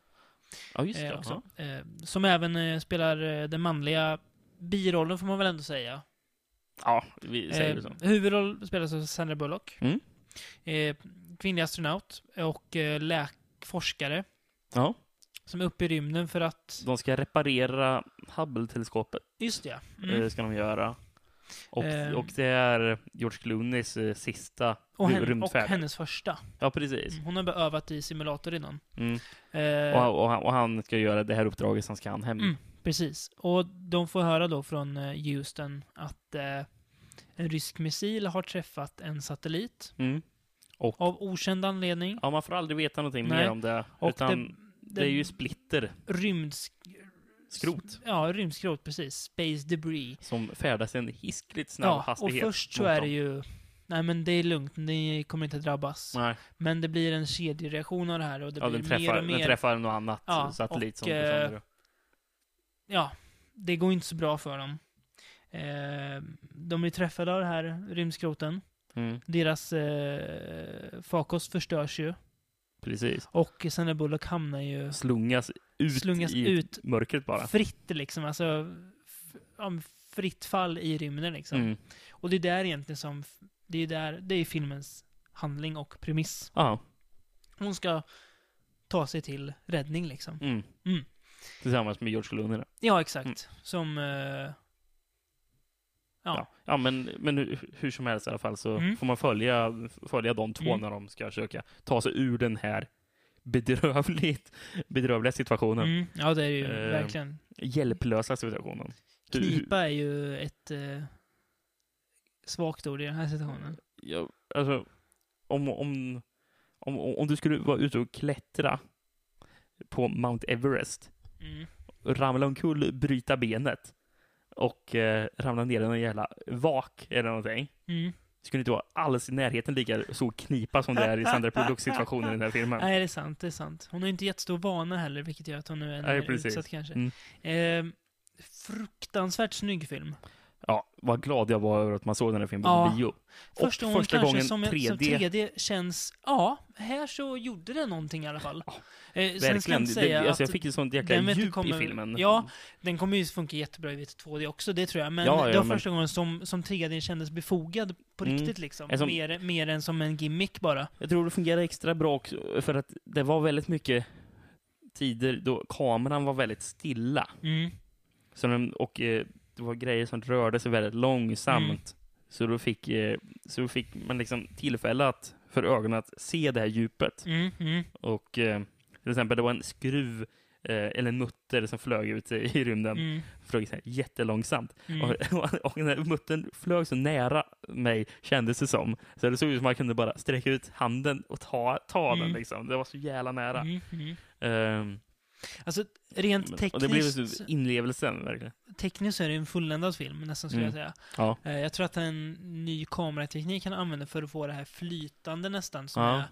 Ja, just Eh, det. också. Eh, som även eh, spelar eh, den manliga birollen, får man väl ändå säga. Ja, Ja, vi säger Eh, så. huvudroll spelas av Sandra Bullock. liksom. Mm. Eh, kvinnlig astronaut och eh, läk- forskare Ja, som är uppe i rymden för att... de ska reparera Hubble-teleskopet, Just det, ja. Mm. eh, ska de göra. Och, Ehm. och det är George Clooneys eh, sista Och, ru- hen, och rymdfärd. hennes första. Mm, Ja, precis. Hon har bara övat i simulator innan. Mm. Eh, Och, han, och, han, och han ska göra det här uppdraget, sen ska han hem. Mm. Precis. Och de får höra då från eh, Houston att eh, en rysk missil har träffat en satellit Mm. av okänd anledning. Ja, man får aldrig veta någonting Nej. mer om det. Och utan det, det, är ju splitter, rymds... skrot, Ja, rymdskrot, precis. Space debris. som färdas i en hiskligt snabb Ja, och hastighet. först så mot är dem. det ju... Nej men det är lugnt, ni kommer inte drabbas. Nej. Men det blir en kedjereaktion av det här och det ja, blir den träffar, mer och den mer. träffar något annat Ja, satellit som och, eh, går sönder. ja, det går inte så bra för dem. Eh, de är träffade av det här rymdskroten. Mm, Deras eh, farkost förstörs ju. precis. Och Sandra Bullock hamnar ju Slungas ut Slungas i ut. mörkret bara. fritt liksom. Alltså, f- ja, men fritt fall i rymden liksom. Mm. Och det är där egentligen som, f- det är där, det är filmens handling och premiss. Ja, Hon ska ta sig till räddning liksom. mm. Mm. Tillsammans med George Clooney. då. Ja, exakt. Mm. Som... Eh, Ja. Ja. ja, men, men hur, hur som helst i alla fall så Mm. får man följa, följa de två Mm. när de ska försöka ta sig ur den här bedrövligt, bedrövliga situationen. mm, ja, det är ju Eh, verkligen. Hjälplösa situationen. Du- Knipa är ju ett eh, svagt ord i den här situationen. Ja, alltså, om, om, om, om du skulle vara ute och klättra på Mount Everest Mm. ramla omkull, bryta benet och eh, ramla ner i någon jävla vak eller någonting. Mm. Skulle inte vara alls i närheten lika så knipa som det är i Sandra Pullocks situation i den här filmen. Nej, det är sant. Det är sant. Hon har ju inte jättestor vana heller, vilket gör att hon nu är Nej, mer precis. utsatt kanske. Mm. Eh, fruktansvärt snygg film. Ja, vad glad jag var över att man såg den här filmen Ja. på bio. Första, och gången första kanske gången som, 3D. 3D. som 3D känns... Ja, här så gjorde det någonting i alla fall. Eh, sen ska jag Verkligen. inte Jag, säga det, alltså, att jag fick ett sånt jäkla den vet du djup kommer- i filmen. Ja, den kommer ju funka jättebra i vitt 2D också, det tror jag. Men Ja, ja, det var men- första gången som, som 3D kändes befogad på Mm. riktigt liksom. Alltså- Mer, mer än som en gimmick bara. Jag tror det fungerar extra bra också för att det var väldigt mycket tider då kameran var väldigt stilla. Mm. Så den, och eh, det var grejer som rörde sig väldigt långsamt. Mm. Så, då fick, eh, så då fick man liksom tillfälle att, för ögonen att se det här djupet. Mm, mm. Och eh, till exempel det var en skruv eh, eller en mutter som flög ut i, i rymden. Mm, Flög så här jättelångsamt. mm. Och, och när muttern flög så nära mig kändes det som. Så det såg ut som att man kunde bara sträcka ut handen och ta, ta Mm. den liksom. Det var så jävla nära. Mm, mm. Ehm, Alltså, rent men- och det blev ju tekniskt, så inlevelsen verkligen. tekniskt så är det en fulländad film, nästan skulle Mm. jag säga. Ja. Eh, Jag tror att en ny kamerateknik han använder för att få det här flytande nästan, som Ja. är...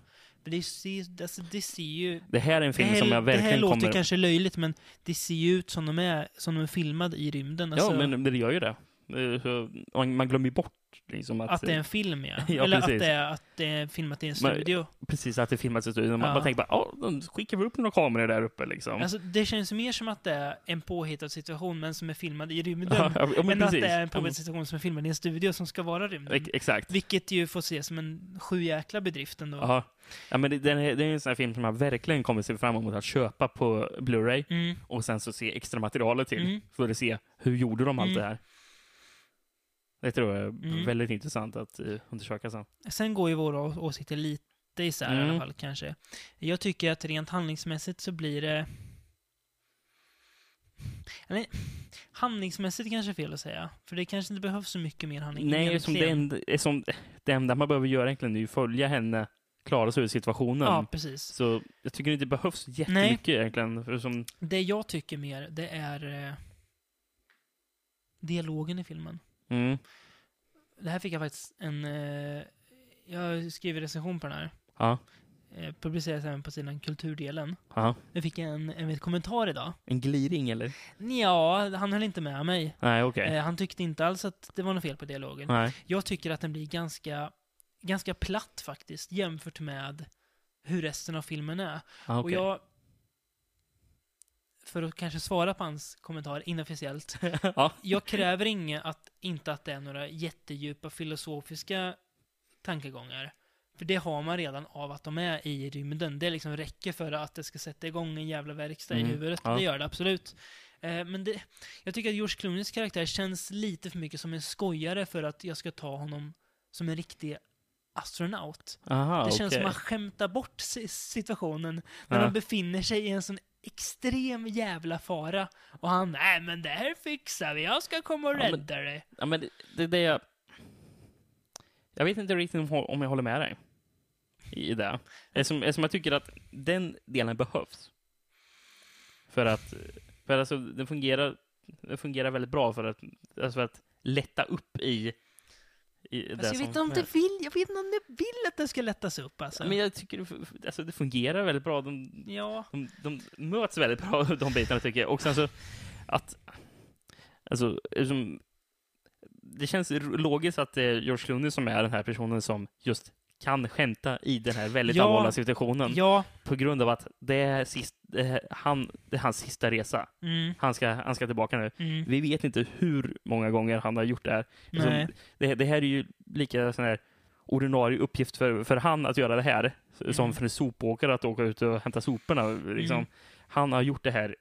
För det ser, alltså, det ser ju Det här är en film det här, som jag det här verkligen låter kommer... kanske löjligt, men det ser ju ut som de är, som de är filmade i rymden. Alltså, Ja, men det gör ju det. Eh, så Man, man glömmer ju bort liksom att, att det är en film, ja. Ja, Eller precis. att det, är, att det är filmat i en Men- studio. precis att det filmas i studion. Man, Ja. man tänker bara, ja, de skickar väl upp några kameror där uppe liksom. Alltså, det känns mer som att det är en påhittad situation, men som är filmad i rymden. Ja, ja, men än att precis. det är en Ja, men- påhittad situation som är filmad i en studio som ska vara rymden. Ex- Exakt. Vilket ju får ses som en sjujäkla bedrift ändå. Ja. Ja, men det, den är, det är en sån här film som jag verkligen kommer se fram emot att köpa på Blu-ray Mm. och sen så se extra materialet till Mm. för att se hur gjorde de allt Mm. det här. Det tror jag är Mm. väldigt intressant att eh, undersöka sen. Sen går ju våra å- åsikter lite isär i Mm. alla fall, kanske. Jag tycker att rent handlingsmässigt så blir det... Eller, handlingsmässigt kanske är fel att säga. För det kanske inte behövs så mycket mer handling Nej, som det, enda, eh, som det enda man behöver göra egentligen är ju följa henne klara sig ur situationen. Ja, precis. Så jag tycker inte det behövs jättemycket egentligen. För som, Det jag tycker mer, det är... Eh, dialogen i filmen. mm, Det här fick jag faktiskt en... Eh, jag skrev recension på den här. ja, Eh, publiceras även på sidan Kulturdelen. ja. Nu fick jag en, en kommentar idag. En gliring eller? Ja, han höll inte med mig. Nej, okej. Mm. Eh, han tyckte inte alls att det var något fel på dialogen. Nej. Jag tycker att den blir ganska, ganska platt faktiskt jämfört med hur resten av filmen är. Ja, Och Ah, okej. jag... För att kanske svara på hans kommentar inofficiellt. Ja. Jag kräver inget att, inte att det är några jättedjupa filosofiska tankegångar. För det har man redan av att de är i rymden. Det liksom räcker för att det ska sätta igång en jävla verkstad Mm, i huvudet. ja. Det gör det absolut. Eh, men det, jag tycker att George Clooneys karaktär känns lite för mycket som en skojare för att jag ska ta honom som en riktig astronaut. Aha, Det känns som Ah, okej. att man skämtar bort si- situationen när Ja. man befinner sig i en sån extrem jävla fara. Och han, nej men det här fixar vi, jag ska komma och Ja, men- rädda dig. Ja, men det, det, det jag... Jag vet inte riktigt om, om jag håller med dig i det. Eftersom, eftersom jag tycker att den delen behövs. För att, för alltså, den fungerar, den fungerar väldigt bra för att, alltså för att lätta upp i, i det Alltså, jag som vet inte om händer. det vill, jag vet inte om det vill att det ska lättas upp alltså. Ja, Men jag tycker det f- alltså, det fungerar väldigt bra. De, Ja. de, de möts väldigt bra, de bitarna tycker jag. Och sen så att... Alltså, som, det känns r- logiskt att det är George Clooney som är den här personen som just kan skämta i den här väldigt Ja. allvarliga situationen. Ja. På grund av att det är, sist, det, är han, det är hans sista resa. Mm. Han ska, han ska tillbaka nu. Mm. Vi vet inte hur många gånger han har gjort det här. Alltså, Nej. det, det här är ju lika sån här ordinarie uppgift för, för han att göra det här Mm. som för en sopåkare att åka ut och hämta soporna. Liksom. Mm. Han har gjort det här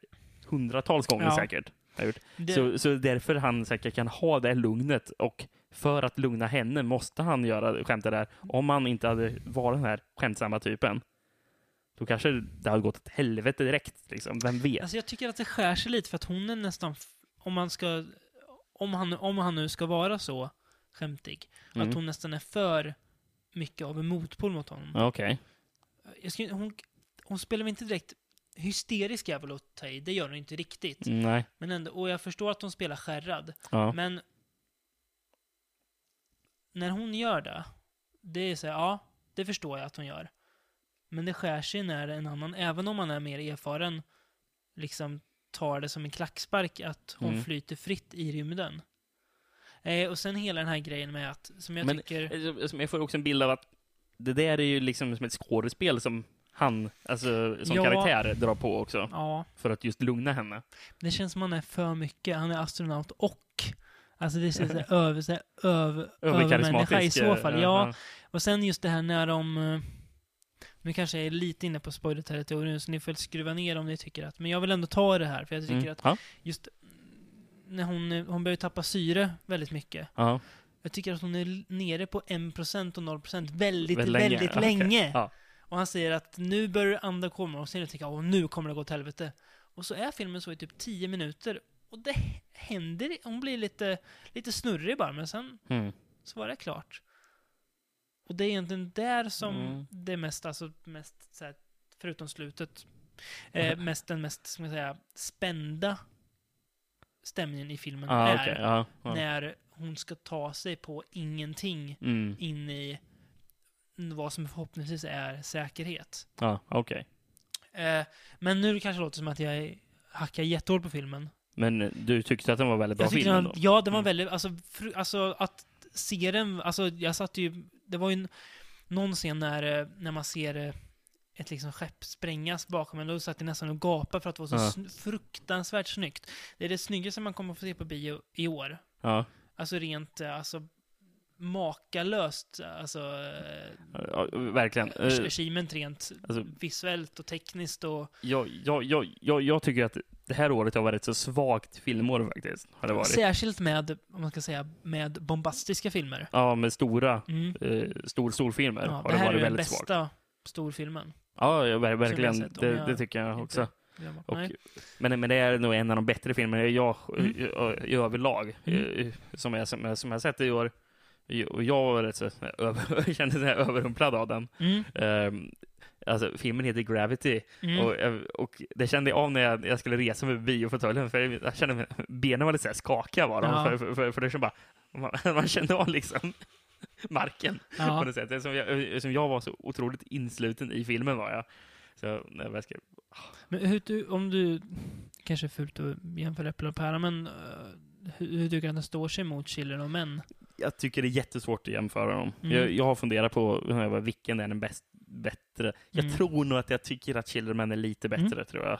hundratals gånger Ja. säkert. Har gjort. Det, Så, så därför han säkert kan ha det här lugnet och för att lugna henne måste han göra skämta där. Om han inte hade varit den här skämtsamma typen, då kanske det hade gått åt helvete direkt. Liksom. Vem vet? Alltså jag tycker att det skär sig lite för att hon är nästan, f- om man ska, om han, om han nu ska vara så skämtig, Mm. att hon nästan är för mycket av en motpol mot honom. Okej. Jag skulle, hon, hon spelar väl inte direkt hysterisk är väl att ta i, det gör hon inte riktigt. Nej. Men ändå, och jag förstår att hon spelar skärrad. Mm. Ja. Men när hon gör det, det är så här, ja, det förstår jag att hon gör. Men det skär sig när en annan, även om man är mer erfaren, liksom tar det som en klackspark att hon Mm. flyter fritt i rymden. Eh, och sen hela den här grejen med att, som jag Men- tycker, Eh, som- Jag får också en bild av att det där är ju liksom som ett skådespel som han, alltså som Ja. karaktär, drar på också. ja, För att just lugna henne. det känns som han är för mycket, han är astronaut och Alltså det känns så här över, så här över, övermänniska i Överkarismatisk. så fall. eh, Ja, Och sen just det här när de... eh, Nu kanske jag är lite inne på spoiler-territorium, så ni får skruva ner om ni tycker att... Men jag vill ändå ta det här, för jag tycker Mm. att Ja. just... När hon, eh, hon börjar ju tappa syre väldigt mycket. Ja. Jag tycker att hon är l- nere på 1% och 0% väldigt, Väldigt länge. väldigt Ah, länge. Okej. Ja. Och han säger att nu börjar andra komma och sen tänker jag åh nu kommer det gå till helvete. Och så är filmen så i typ 10 minuter. Och det händer, hon blir lite, lite snurrig bara, men sen Mm. så var det klart. Och det är egentligen där som Mm. det mest, alltså mest så här, förutom slutet, eh, mest den mest, ska man säga, spända stämningen i filmen Ah, är. okej. Ja, ja. När hon ska ta sig på ingenting Mm. in i vad som förhoppningsvis är säkerhet. Ja, okej. Eh, men nu kanske det låter som att jag hackar jättehårt på filmen. Men eh, du tyckte att den var väldigt bra Jag tyckte film den- ändå? Ja, den var Mm. väldigt, alltså, fru, alltså att se den, alltså jag satt ju, det var ju en, någon scen när, eh, när man ser eh, ett liksom skepp sprängas bakom en, då satt jag nästan och gapade för att det var så Ja. sn- fruktansvärt snyggt. Det är det snyggaste man kommer att få se på bio i år. Ja. Alltså rent, eh, alltså makalöst, alltså eh, Ja, verkligen. Eh, achievement rent Alltså, visuellt och tekniskt och... jag, jag, jag, jag, jag tycker att det här året har varit så svagt filmår faktiskt. Har det varit. Särskilt med, om man ska säga, med bombastiska filmer. Ja, med stora, Mm. eh, stor, storfilmer Ja, har det det här är varit den väldigt bästa svagt. storfilmen. Ja, ja, ver- verkligen. sett, det, om jag det tycker jag inte- också. Glömma. Och, Nej. men, men det är nog en av de bättre filmerna jag, Mm. i, i, i överlag Mm. eh, som, jag, som, jag, som jag sett i år. Och jag var rätt så över, kände mig överrumplad av den. Mm, Ehm, alltså, filmen heter Gravity mm. och, jag- och det kände jag av när jag, jag skulle resa med biofåtöljen för jag, jag kände benen var lite så här skakiga var de, Ja. för, för, för, för det som bara, man, man kände av liksom marken på ja. något sätt. Det är Som jag, eh, som jag var så otroligt insluten i filmen var jag. Så, när jag skrev, Men hur, du- om du, kanske är fult att jämföra äpplen och päron, men eh, hur, hur tycker du att den står sig mot Chiller och män? jag tycker det är jättesvårt att jämföra dem. Mm. Jag, jag har funderat på när jag var, vilken är den bäst, bättre. Jag Mm. tror nog att jag tycker att Children Man är lite bättre, tror jag.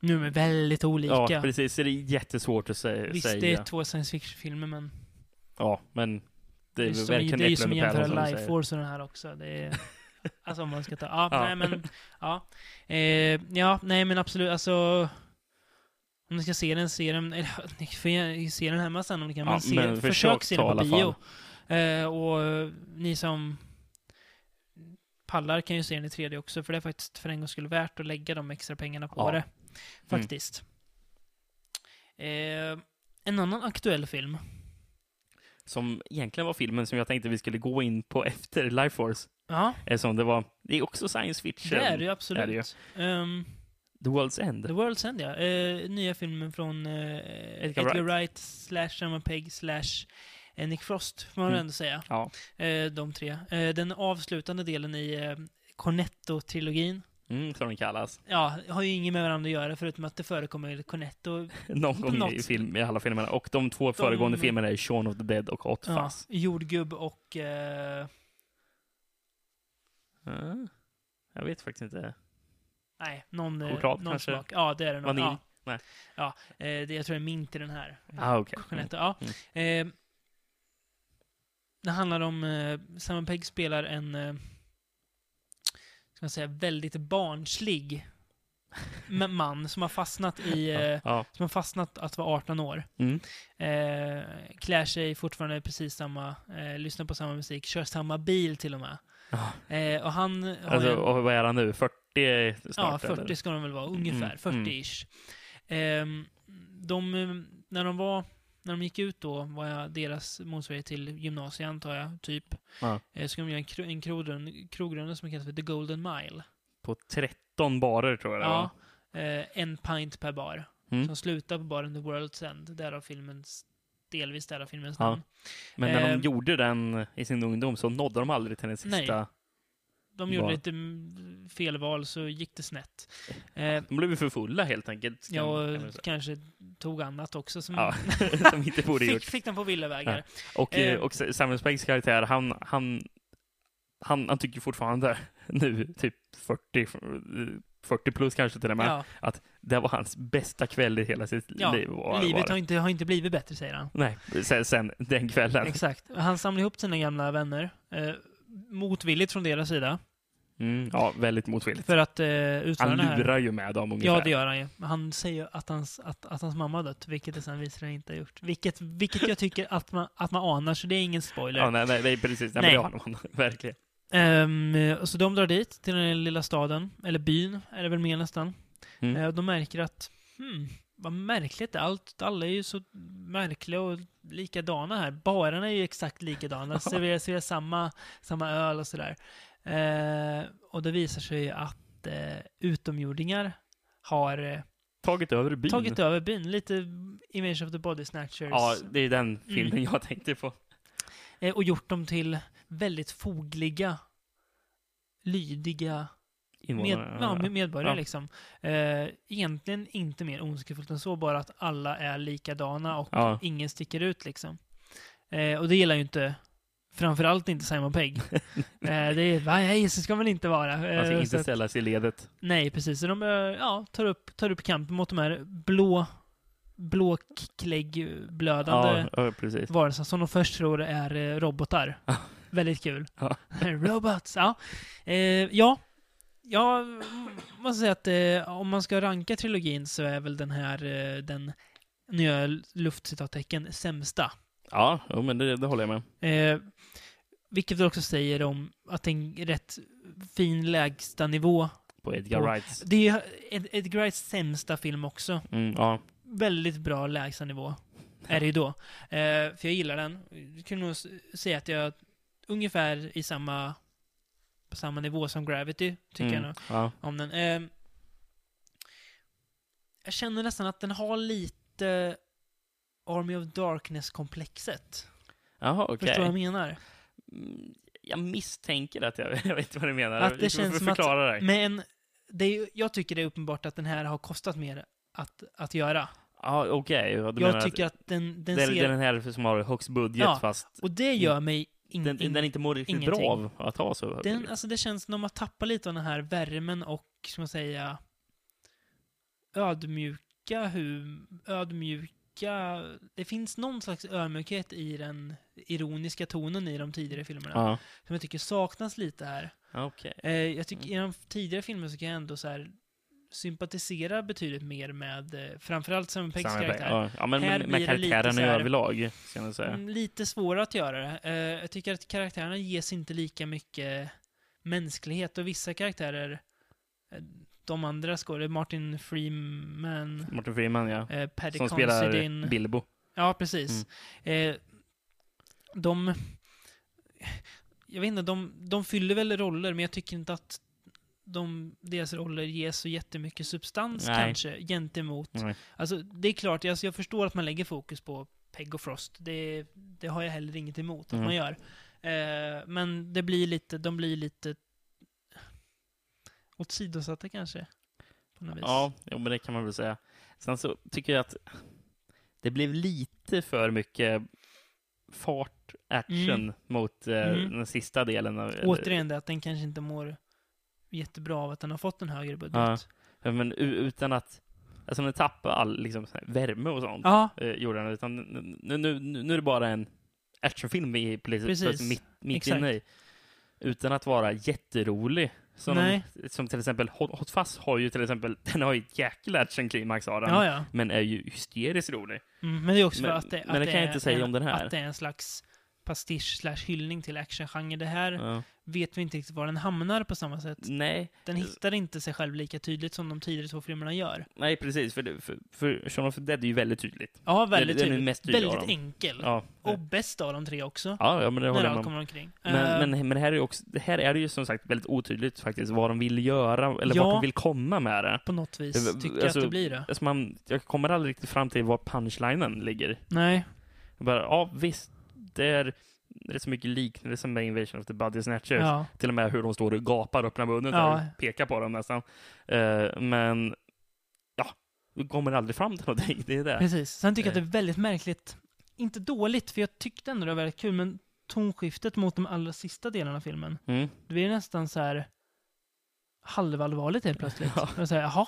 Nu är de väldigt olika. Ja, precis. Så det är jättesvårt att sä Visst, säga. det är två science fiction-filmer, men Ja, men det är det är som, verkligen det är ju äpplen som och att päron, som jämföra du Life säger. Force och den här också. Det är, alltså om man ska ta, ja, Ja. nej men, ja. Eh, ja, nej men absolut, alltså. Om ni ska se den, se den, eller ni får gärna se den hemma sen om ni kan, Ja, men, se, men försök, försök se ta den i alla på bio. Eh, och eh, ni som pallar kan ju se den i 3D också, för det är faktiskt för en gång skulle värt att lägga de extra pengarna på Ja. Mm. det. Faktiskt. Eh, en annan aktuell film. Som egentligen var filmen som jag tänkte vi skulle gå in på efter Life Force. Ja, Eftersom det var, det är också science fiction. det är det ju absolut. är det ju. Ehm, The World's End. The World's End, ja. Eh, nya filmen från eh, Edgar, Wright. Wright. slash Simon Pegg slash eh, Nick Frost, får man Mm. väl ändå säga. Ja. Eh, de tre. Eh, den avslutande delen i eh, Cornetto-trilogin. Mm, som den kallas. Ja, har ju inget med varandra att göra förutom att det förekommer ju Cornetto. Någon gång i, något- film, i alla filmerna. Och de två föregående filmerna är Shaun of the Dead och Hot Ja, Fuzz. jordgubb och... Eh, Ja. Jag vet faktiskt inte. nej, någon... eh, Choklad någon kanske? smak. Ja, det är det nog. Vanilj? Ja, Nej. ja eh, det, jag tror det är mint i den här. Ah, okej. Mm. Cornetto, ja. Eh, det handlar om... Eh, Simon Pegg spelar en... Eh, ska man säga, väldigt barnslig ma- man som har fastnat i... Eh, Ja. som har fastnat att vara 18 år. Mm. Eh, klär sig fortfarande precis samma, eh, lyssnar på samma musik, kör samma bil till och med. Ja. Eh, och han har ju- Alltså, och vad är han nu? 40 snart? Ja, 40 eller? ska de väl vara, ungefär. Mm, mm. 40-ish. Ehm, de, eh, när de var, när de gick ut då, var jag deras motsvarighet till gymnasiet antar jag, typ. Ja. Eh, så ska de göra en, kro- en krogrunda, krogrunda som kallas för The Golden Mile. På 30 13 barer tror jag det var. Ja. Eh, en pint per bar. Mm. Som slutar på baren The World's End. Därav filmens, delvis därav filmens Ja. namn. Men när Ehm. de gjorde den i sin ungdom så nådde de aldrig till den sista. De gjorde Bar. lite mm, felval så gick det snett. Eh, De blev ju för fulla helt enkelt. kan- ja, eh, kan man och säga. kanske tog annat också som ja. som inte borde fick, gjort. fick den på villavägar. Och, Eh. eh, och Samuel Speggs karaktär, han, han, han, han tycker fortfarande nu, typ 40, 40 plus kanske till och med, Ja, att det var hans bästa kväll i hela sitt ja. liv. var- var Livet det. har inte, har inte blivit bättre, säger han. Nej, sen, sen den kvällen. Exakt. Han samlar ihop sina gamla vänner. Eh, motvilligt från deras sida. Mm, ja, väldigt motvilligt. För att eh, utföra Han det här. lurar ju med dem ungefär. Ja, det gör han ju. Han säger ju att hans, att, att hans mamma har dött, vilket det sen visar sig inte ha gjort. Vilket, vilket jag tycker att man, att man anar, så det är ingen spoiler. Ja, nej, nej, nej, precis. Nej, Nej. Men det har man, verkligen. Ehm, och så de drar dit, till den lilla staden, eller byn, är det väl mer nästan. Mm. Eh, och de märker att, hmm, vad märkligt, allt, alla är ju så märkliga och likadana här. Barerna är ju exakt likadana, serverar serverar samma, samma öl och sådär. Eh, och det visar sig att eh, utomjordingar har eh, Tagit över byn. tagit över byn, lite Image of the Body Snatchers. Ja, det är Mm. den filmen jag tänkte på. Eh, och gjort dem till väldigt fogliga, lydiga med, Invånarna. ja, med medborgare Ja. liksom. Eh, egentligen inte mer ondskefullt än så, bara att alla är likadana och Ja. ingen sticker ut liksom. Eh, och det gillar ju inte, framförallt inte Simon Pegg. eh, det är, va, nej, så ska man inte vara. Eh, Man ska så Alltså, inte att, ställa sig i ledet. nej, precis. Så de eh, ja, tar, upp, tar upp kampen mot de här blå, blåkläggblödande Ja, ja, precis. varelser som de först tror är eh, robotar. Ja. Väldigt kul. Ja. Robots, ja. Eh, ja, jag måste säga att eh, om man ska ranka trilogin så är väl den här eh, den, nu gör jag luftcitattecken, sämsta. Ja, jo, men det, det håller jag med. Eh, vilket väl också säger om att en rätt fin lägsta nivå. På Edgar På- Wrights. Det är Ed- Edgar Wrights sämsta film också. Mm, ja. väldigt bra lägstanivå. Är det ju då. Eh, för jag gillar den. Jag kunde nog s- säga att jag ungefär i samma, på samma nivå som Gravity, tycker jag mm, nog, Ja. om den. Eh, jag känner nästan att den har lite Army of Darkness-komplexet. Jaha, okej. Förstår du vad jag menar? Mm, Jag misstänker att jag, jag vet vad du menar. Att det Du får känns som att- förklara dig. Men det är, ju- jag tycker det är uppenbart att den här har kostat mer att, att göra. Ja, okej. ja, du menar Jag att tycker att den, den det, är- det är ser... den här som har högst budget, Ja, fast och det gör mig in, den, in, den inte mår riktigt ingenting. bra av att ha så hög Den, budget. alltså det känns som att man tappar lite av den här värmen och, ska man säga, ödmjuka hum, ödmjuka... Det finns någon slags ödmjukhet i den ironiska tonen i de tidigare filmerna. Ja, Som jag tycker saknas lite här. okej. Eh, jag tycker i de tidigare filmerna så kan jag ändå så här sympatisera betydligt mer med eh, framförallt Simon Peggs Samma karaktär. Ja, ja, men Här med, blir med det lite karaktären så här- överlag, ska jag säga. Mm, Lite svårare att göra det. Eh, jag tycker att karaktärerna ges inte lika mycket mänsklighet och vissa karaktärer, eh, de andra skådespelarna, Martin Freeman, Martin Freeman, ja. eh, Paddy Som spelar Considine. Bilbo. Ja, precis. Mm. Eh, de, jag vet inte, de, de fyller väl roller, men jag tycker inte att de, deras roller ges så jättemycket substans Nej. kanske, gentemot Nej. Alltså, det är klart, alltså, jag förstår att man lägger fokus på Peg och Frost. Det, det har jag heller inget emot att Mm. man gör. Eh, men det blir lite, de blir lite åsidosatta kanske. På något vis. Ja, jo, men det kan man väl säga. Sen så tycker jag att det blev lite för mycket fart, action Mm. mot eh, Mm. den sista delen. Av, Återigen det att den kanske inte mår jättebra av att den har fått en högre budget. Ja, Ja. Ja, Men u- utan att, alltså den tappade all liksom, så här, värme och sånt. Eh, gjorde den, utan nu, nu, nu nu är det bara en actionfilm vi är plötsligt- Precis. plötsligt mitt, mitt Exakt. inne i. Utan att vara jätterolig. Som, Nej. som till exempel Hot, Hot Fuzz har ju till exempel, den har ju ett jäkla actionklimax har den. ja. ja. Men är ju hysteriskt rolig. Mm, men det är också för Men- att det, men att det kan jag inte säga är, om den här. Att det är en slags pastisch slash hyllning till actiongenre. Det här Ja. Mm. vet vi inte riktigt var den hamnar på samma sätt. Nej, Den hittar inte sig själv lika tydligt som de tidigare två filmerna gör. nej, precis. För, det- för, för Shaun of the Dead är ju väldigt tydligt. Ja, är väldigt den tydligt. mest tydliga av väldigt dem. enkel. Ja, Och bäst av de tre också. ja, ja men det när håller jag med allt om. kommer omkring. Eh, Men, men, men här, är ju också, det här är det ju som sagt väldigt otydligt faktiskt vad de vill göra, eller Ja. vart de vill komma med det. på något vis Eh, tycker jag alltså- att det blir det. Alltså man, jag kommer aldrig riktigt fram till var punchlinen ligger. Nej. Jag bara, ja visst, det är rätt så mycket liknelse med Invasion of the Body Snatchers. Ja. Till och med hur de står och gapar och öppnar munnen Ja. och pekar på dem nästan. Eh, men, ja, vi kommer aldrig fram till någonting. Det är det. Precis. Sen Eh. tycker jag att det är väldigt märkligt. Inte dåligt, för jag tyckte ändå det var väldigt kul, men tonskiftet mot de allra sista delarna av filmen. Mm. Det blir nästan så här halvallvarligt helt plötsligt. Ja. Och så här, jaha,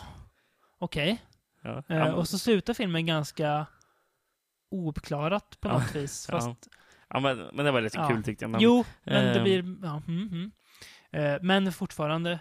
okej. Ja. Eh, och så slutar filmen ganska ouppklarat på Ja. något vis. Fast, ja, men, men det var lite Ja. kul tyckte jag. Men, jo, men det eh, blir... Ja, mm, mm. Eh, men fortfarande,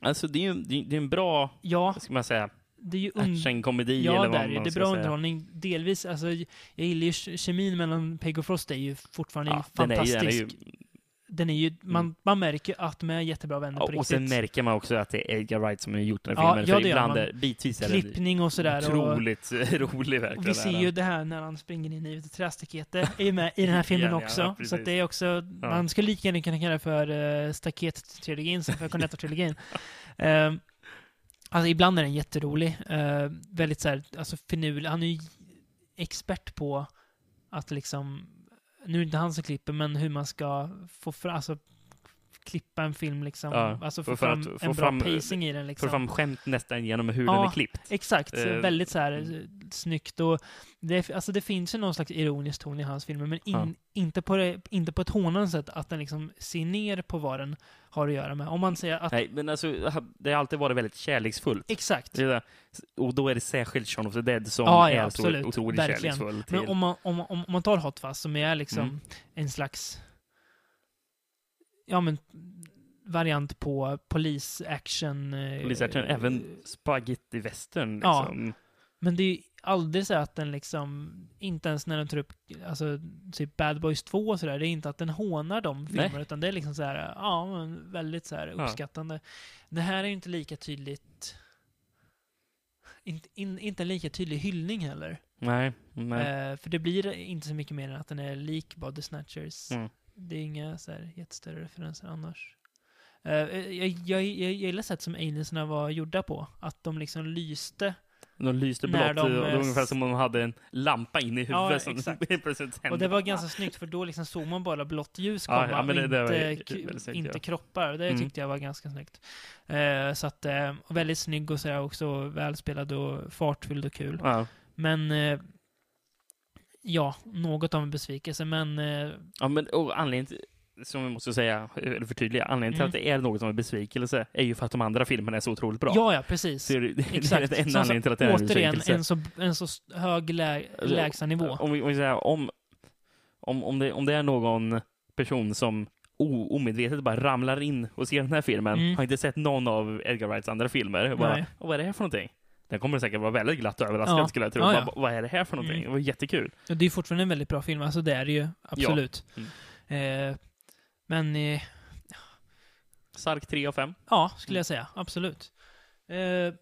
Alltså det är ju det är, det är en bra, ja, vad ska man säga, det är ju... un- actionkomedi Mm. Ja, eller det vad är ju. man Det är ska bra säga. underhållning. Delvis, alltså, jag gillar ju ke- kemin mellan Peg och Frost. Det är ju fortfarande den är ju- fantastisk. den är ju- den är ju, man, man märker ju att de är jättebra vänner Mm, på Mm. Ja, och riktigt. sen märker man också att det är Edgar Wright som har gjort den här Ja, filmen. ja, för det gör ibland man. är, bitvis är den Klippning och sådär. Och, otroligt rolig verkligen. och vi ser är ju den. det här när han springer in i ett trästaketet. är ju med i den här filmen Ja, ja, också. precis. så att det är också, man skulle lika gärna kunna kalla det för uh, staket-trilogin som för Cornetto-trilogin. Ehm, alltså ibland är den jätterolig. Eh, väldigt så här, alltså finurlig. Han är ju expert på att liksom, nu är det inte han som klipper, men hur man ska få fram, alltså klippa en film liksom. Ja, alltså för- få för fram att en få bra fram- eh, pacing i den liksom. Får fram skämt nästan genom hur Ja. den är klippt. Exakt, Eh, väldigt så här mm. eh, snyggt och det, alltså det finns ju någon slags ironisk ton i hans filmer men in, Ja. inte, på det, inte på ett hånande sätt att den liksom ser ner på vad den har att göra med. Om man säger att, Nej, men alltså, det har alltid varit väldigt kärleksfullt. exakt, Det är det. Och då är det särskilt Shaun of the Dead som Ja, ja, är absolut. så otroligt Verkligen. kärleksfull. Till. men om man, om, om, om man tar Hot Fuzz som är liksom Mm. en slags, ja men variant på polisaction. eh, Polisaction, även spaghetti western Ja. liksom. Men det är ju aldrig så att den liksom, inte ens när den tar upp alltså, typ Bad Boys 2 och sådär, det är inte att den hånar de filmerna, Nej. utan det är liksom så här, ja, men väldigt så här Ja. uppskattande. Det här är ju inte lika tydligt, inte in, inte en lika tydlig hyllning heller. Nej, nej. Eh, för det blir inte så mycket mer än att den är lik Body Snatchers. Mm. Det är inga så här jättestörre referenser annars. Eh, jag, jag, jag, jag gillar sätt som alienserna var gjorda på, att de liksom lyste De lyste när blått. de, och Det eh, var ungefär som om de hade en lampa inne i Ja, huvudet som exakt. helt plötsligt Och hände. det var ganska snyggt för då liksom såg man bara blått ljus Ja, komma ja, men och det- det var ju inte, ku- väldigt snyggt, inte ja. kroppar. Det Mm. tyckte jag var ganska snyggt. Eh, så att, eh, och väldigt snygg och sådär också, välspelad och fartfylld och kul. Ja. Men eh, ja, något av en besvikelse. Men eh, Ja, men och anledningen till, som vi måste säga, eller förtydliga, anledningen till Mm. att det är något som är besvikelse är ju för att de andra filmerna är så otroligt bra. ja, ja, precis. så är det, Exakt. det är en Som anledning till att det är en Återigen, besvikelse. en så, en så st- hög lä Alltså, lägstanivå. Om, vi, om, vi säger, om, om, om, det, om det är någon person som o, omedvetet bara ramlar in och ser den här filmen, Mm. har inte sett någon av Edgar Wrights andra filmer, och bara, Nej. "Åh, vad är det här för någonting? Den kommer säkert vara väldigt glatt överraskad Ja. skulle jag tro. Ja, ja. Bara, vad är det här för någonting? Mm. Det var jättekul. Ja, det är fortfarande en väldigt bra film, alltså det är det ju. Absolut. Ja. Mm. Eh, men eh, Sark 3 av 5. Ja, skulle jag säga. Absolut. Eh,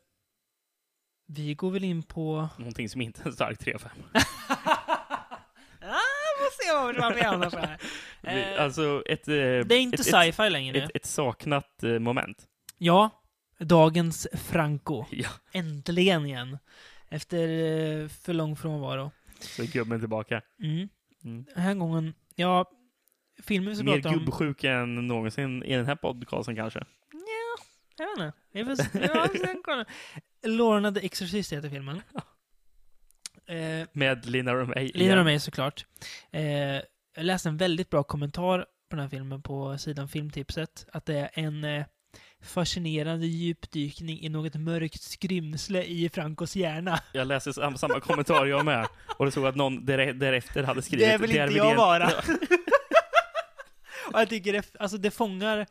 vi går väl in på... Någonting som inte är en stark 3 av 5. ah, får se vad man menar så här. Vi- Eh, alltså ett... eh, det är inte ett, ett, sci-fi längre. ett, ett saknat eh, moment. Ja, dagens Franco. Ja, Äntligen igen. Efter eh, för lång frånvaro. så är gubben tillbaka. Mm. Mm. Den här gången, ja, filmen som Mer pratar om... gubbsjuk än någonsin i den här podcasten kanske. Ja, jag vet inte. Jag får, jag får kolla. Lorna the Exorcist heter filmen. Eh, Med Lina Romay. Lider av mig såklart. Eh, jag läste en väldigt bra kommentar på den här filmen på sidan Filmtipset. Att det är en eh, fascinerande djupdykning i något mörkt skrymsle i Francos hjärna. Jag läste sam- samma kommentar jag med. Och det såg att någon dere- därefter hade skrivit... det vill inte "Där jag det- vara. Och jag tycker det, alltså det fångar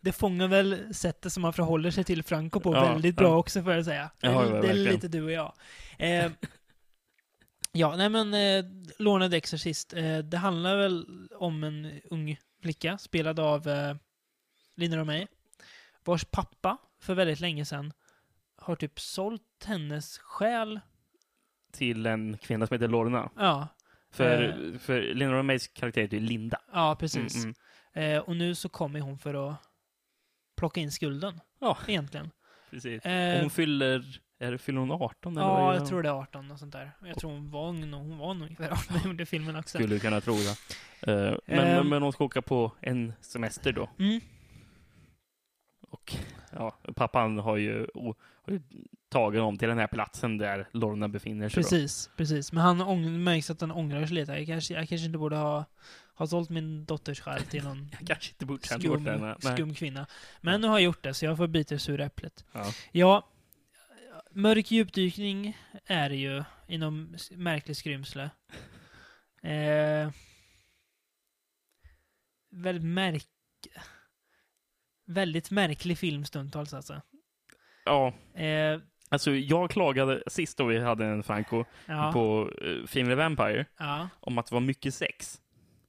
det fångar väl sättet som man förhåller sig till Franco på Ja, väldigt bra ja. också får jag säga. Ja, det, ja, är- det är verkligen. lite du och jag. Eh, Ja, nej men eh, Lorna the Exorcist, eh, det handlar väl om en ung flicka spelad av eh, Lina Romay, vars pappa för väldigt länge sedan har typ sålt hennes själ. Till en kvinna som heter Lorna. Ja, För, Eh. för Lena Romays karaktär heter ju Linda. ja precis. Mm, mm. Eh, och nu så kommer hon för att plocka in skulden, Ja, egentligen. precis. Eh, Hon fyller, är det, fyller hon 18 eller ja, vad är jag tror det är 18 och sånt där. Jag tror hon var ung, hon var nog ungefär 18 när hon gjorde filmen också. Skulle kunna tro det. Eh, men, Ehm. men hon ska åka på en semester då. Mm. Och ja, pappan har ju, o- har ju tagit dem till den här platsen där Lorna befinner sig. Då. Precis, precis. Men han ång- märks att han ångrar sig lite. Jag kanske, jag kanske inte borde ha, ha sålt min dotters själ till någon Jag kanske inte borde ha gjort skum, det. nej. Nej. skum kvinna. Men nu har jag gjort det, så jag får bita det sura äpplet. Ja. Ja, mörk djupdykning är det ju inom s- märklig skrymsle. Eh, väldigt märk... Väldigt märklig film stundtals alltså. ja, Eh, alltså jag klagade sist då vi hade en Franco ja, på uh, Female Vampire ja, om att det var mycket sex.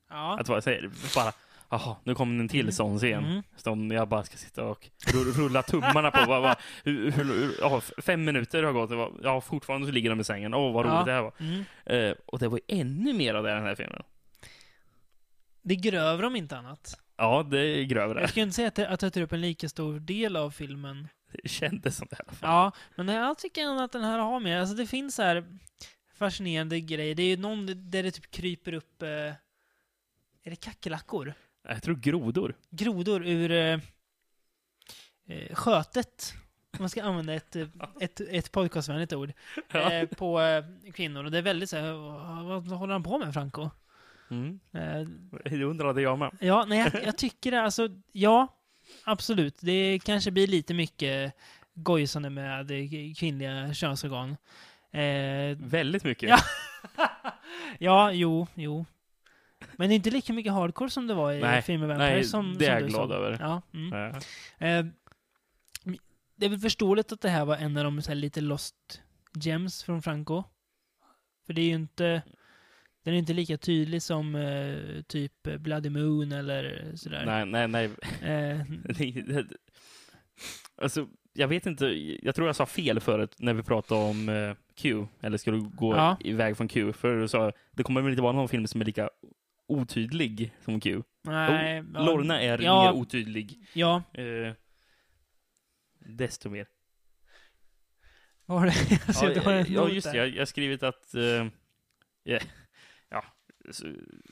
ja. Att vara, så här, bara, jaha, nu kommer en till sån scen. Mm. Som jag bara ska sitta och rull- rulla tummarna på. Bara, bara, hur, hur, hur, ja, f- fem minuter har gått. Det var, ja, fortfarande så ligger de i sängen. Åh, vad roligt Ja. det här var. Mm. Eh, och det var ju ännu mer av det i den här filmen. Det grövre om inte annat. Ja, det är grövre. Jag skulle inte säga att det, att det tar upp en lika stor del av filmen. Det kändes som det i alla fall. Ja, men jag tycker ändå att den här har mer. Alltså det finns så här fascinerande grejer. Det är ju någon där det typ kryper upp... Eh, är det kackerlackor? Jag tror grodor. Grodor ur eh, eh, skötet. Om man ska använda ett, eh, ett, ett podcastvänligt ord. Eh, på eh, kvinnor. Och det är väldigt så här, "Vad- vad håller han på med Franco? Mm. Eh, Det undrade jag med. Ja, nej, jag, jag tycker det. Alltså, ja, absolut. Det kanske blir lite mycket gojsande med eh, kvinnliga könsorgan. Eh, Väldigt mycket. Ja. ja, jo, jo. Men det är inte lika mycket hardcore som det var i Nej, filmen Vampire nej, som, det som är jag du glad sa. över. Ja, mm. Eh, eh, det är väl förståeligt att det här var en av de så här, lite lost gems från Franco. För det är ju inte... Den är inte lika tydlig som eh, typ Bloody Moon eller sådär. Nej, nej, nej. Eh, alltså, jag vet inte. Jag tror jag sa fel förut när vi pratade om eh, Q. Eller skulle gå Ja. iväg från Q. För du sa det kommer väl inte vara någon film som är lika otydlig som Q. nej, Oh, ja, Lorna är ja, mer otydlig. Ja, Eh, desto mer. vad var det? Alltså, Jag ser Ja, att du har en ja not just det. där. Jag jag har skrivit att... eh, ja, ja, så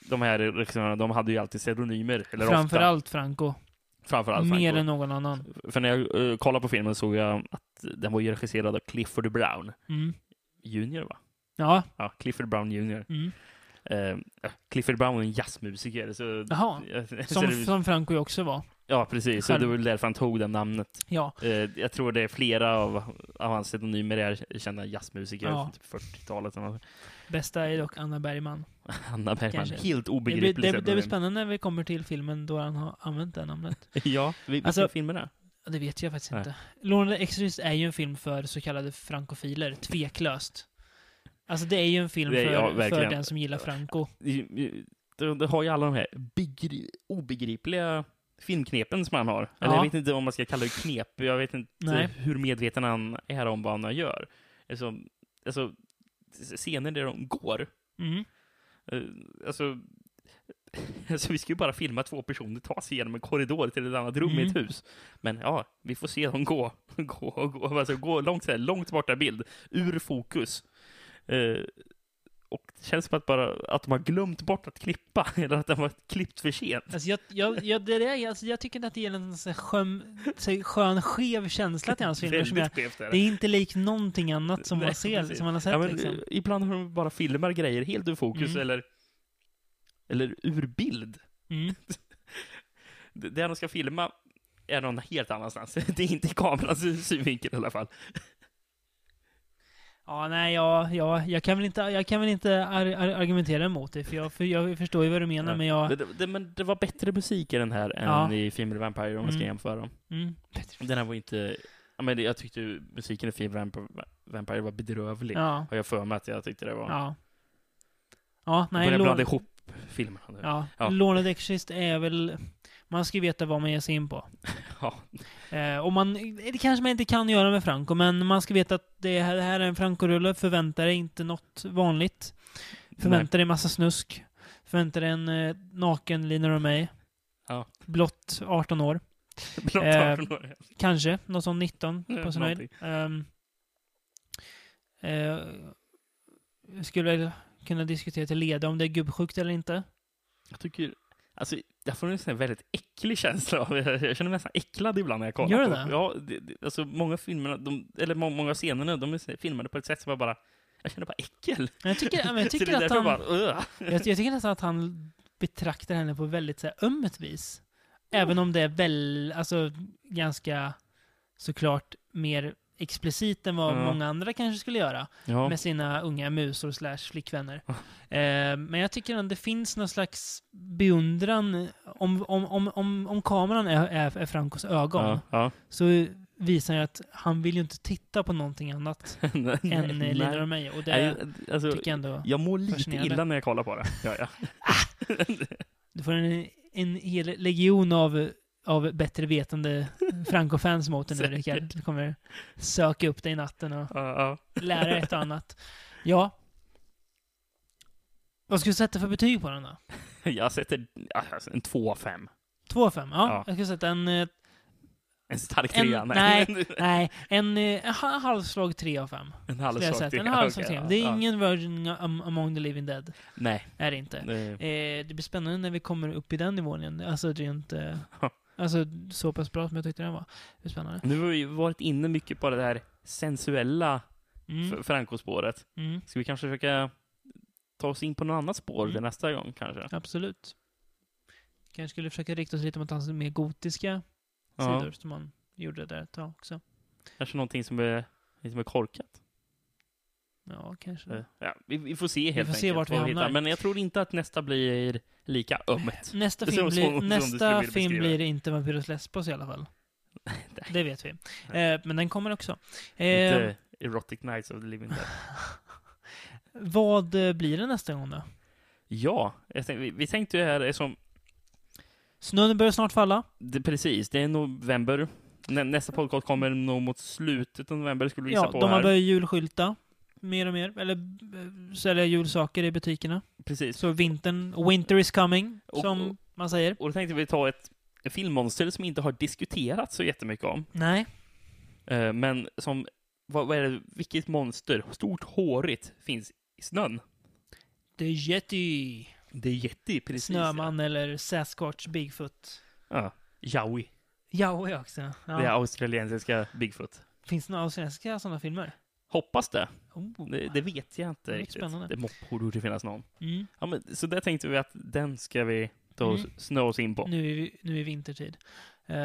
de här regissörerna, de hade ju alltid pseudonymer. Eller ofta, Framförallt Franco. framförallt Franco. Mer än någon annan. För när jag uh, kollade på filmen såg jag att den var ju regisserad av Clifford Brown Mm. Junior, va? Ja, Ja, Clifford Brown Junior. mm. Eh, ja, Clifford Brown är en jazzmusiker. Så, Jaha. Så Som, det- som Franco ju också var. ja, precis. Så Själv. det var väl därför han tog det namnet. Ja, Eh, jag tror det är flera av, av hans pseudonymer är kända jazzmusiker Ja. från typ 40-talet. eller något. bästa är dock Anna Bergman. Anna Bergman. Kanske. Helt Det blir, obegriplig det, det blir pseudonym. spännande när vi kommer till filmen då han har använt det namnet. Ja, vi- vilken Alltså- film är det? Ja, Det vet jag faktiskt Nej. inte. Lorna the Exorcist är ju en film för så kallade frankofiler, tveklöst. Alltså det är ju en film Det är- för, ja, för verkligen. den som gillar Franco. Det, det har ju alla de här begri- obegripliga filmknepen som han har. Eller Ja. jag vet inte om man ska kalla det knep. Jag vet inte Nej. hur medveten han är om vad han gör. Alltså, alltså scener där de går. Mm. Eh, Alltså, alltså, vi ska ju bara filma två personer ta sig igenom en korridor till ett annat rum i ett Mm. hus. Men ja, vi får se dem gå. gå, och gå. Alltså, gå långt, så här, långt borta bild, ur fokus. Eh, och det känns som att, bara, att de har glömt bort att klippa, eller att de har klippt för sent. Alltså jag, jag, jag, det där, alltså jag tycker inte att det ger en sån här skön, så här skön skev känsla till hans filmer. Som jag, Väldigt skevt är det är inte lilik någonting annat som man Nej, ser, precis. som man har sett ja, men, liksom. eh, Ibland har de bara filmar grejer helt ur fokus, Mm. eller, eller ur bild. Mm. Det det de ska filma är någon helt annanstans. Det är inte i kamerans synvinkel i alla fall. Ja, nej, ja, ja, jag kan väl inte, jag kan väl inte ar ar argumentera emot det, för jag, för jag förstår ju vad du menar, Nej. men jag... Men det, det, men det var bättre musik i den här än Ja. i Female Vampire om man ska Mm. jämföra dem. Mm. Den här var inte... Ja, men det- jag tyckte musiken i Female Vamp- Vampire var bedrövlig. Ja, Har jag för mig att jag tyckte det var. ja. Ja, Jag nej. börjar lån- blanda ihop filmerna nu. Ja, Ja. lånad exorcist är väl... Man ska ju veta vad man ger sig in på. Ja. Eh, och man, det kanske man inte kan göra med Franco, men man ska veta att det här, det här är en Franco-rulle. Förvänta dig inte något vanligt. Förvänta dig massa snusk. Förvänta dig en eh, naken Lina Romay. Ja. Blott 18 år. Blott Eh, har några- Kanske. Något sånt 19 på sin höjd. Någonting. Ehm, eh, skulle kunna diskutera till leda om det är gubbsjukt eller inte. Jag tycker... Alltså, jag får en sån här väldigt äcklig känsla av jag, jag känner mig nästan äcklad ibland när jag kollar Gör på du det? Ja, det, det, alltså många filmerna, de, eller må, många scenerna, de är så här filmade på ett sätt som jag bara... Jag känner bara äckel. Jag tycker, ja, men jag så det är tycker att därför han... jag bara... "Ugh." Jag, jag tycker nästan att han betraktar henne på väldigt så här, ömmet vis. Även om det är väl, alltså ganska såklart mer explicit än vad Ja. många andra kanske skulle göra Ja. med sina unga musor slash flickvänner. eh, men jag tycker att det finns någon slags beundran. Om, om, om, om, om kameran är, är, är Francos ögon ja, ja. så visar han ju att han vill ju inte titta på någonting annat Nej, än eh, nej. Lina och mig. Och det Nej, alltså, tycker jag ändå... jag mår lite fascinerande. illa när jag kollar på det. Ja, ja. Du får en, en hel legion av, av bättre vetande Franco-fans mot dig nu, Säkert. Rickard. Du kommer söka upp dig i natten och Ja, ja. lära dig ett och annat. Ja. Vad ska du sätta för betyg på den då? Jag sätter ja, alltså, en 2 av 5. 2 av 5? Ja, Ja. jag ska sätta en... eh, En stark En- trea. nej. Nej, en, eh, en ha- halvslag 3 av 5. en Skulle jag halvslag sätta. trea. En halvslag Okej, 3. ja, Det ja. är ingen Virgin am- Among the Living Dead. Nej. Är det inte. det- Eh, det blir spännande när vi kommer upp i den nivån igen. Alltså, det är ju inte... Alltså, så pass bra som jag tyckte den var. Det är spännande. Nu har vi ju varit inne mycket på det här sensuella Mm, f- Franco-spåret. mm, Ska vi kanske försöka ta oss in på något annat spår Mm. nästa gång kanske? absolut. Kanske skulle försöka rikta oss lite mot hans mer gotiska Ja. sidor som han gjorde där ett tag också. Kanske någonting som är, som är korkat. Ja, kanske. Ja, vi, vi får se helt får se enkelt vart Mm. vi vad hamnar. Mm. hittar. Men jag tror inte att nästa blir lika ömt. Nästa Det film, ser ut som- blir, som du skulle nästa vilja film beskriva. blir inte Vampyros Lesbos i alla fall. det vet vi. Eh, men den kommer också. Eh, Inte Erotic Nights of the Living Dead. vad eh, blir det nästa gång då? Ja, jag tänkte, vi, vi tänkte ju här är som... Snön börjar snart falla. Det, precis, det är november. Nä, nästa podcast kommer nog mot slutet av november skulle vi gissa Ja, på de har här. börjat julskylta mer och mer. Eller eh, sälja julsaker i butikerna. Precis. Så vintern, winter is coming, Och- som man säger. Och då tänkte vi ta ett filmmonster som inte har diskuterats så jättemycket om. Nej. Eh, men som, vad, vad är det, vilket monster, stort hårigt, finns i snön? The Yeti. Det är jätte, precis. Snöman eller Sasquatch Bigfoot. Ja. Yowie. Yowie också. Ja. Det är australiensiska Bigfoot. Finns det några svenska sådana filmer? Hoppas det. Oh. Det, det vet jag inte Det är riktigt. spännande. Det må- borde ju finnas någon. Mm. Ja, men, så där tänkte vi att den ska vi ta oss, Mm. snöa oss in på. Nu, är vi, nu är vintertid. Eh,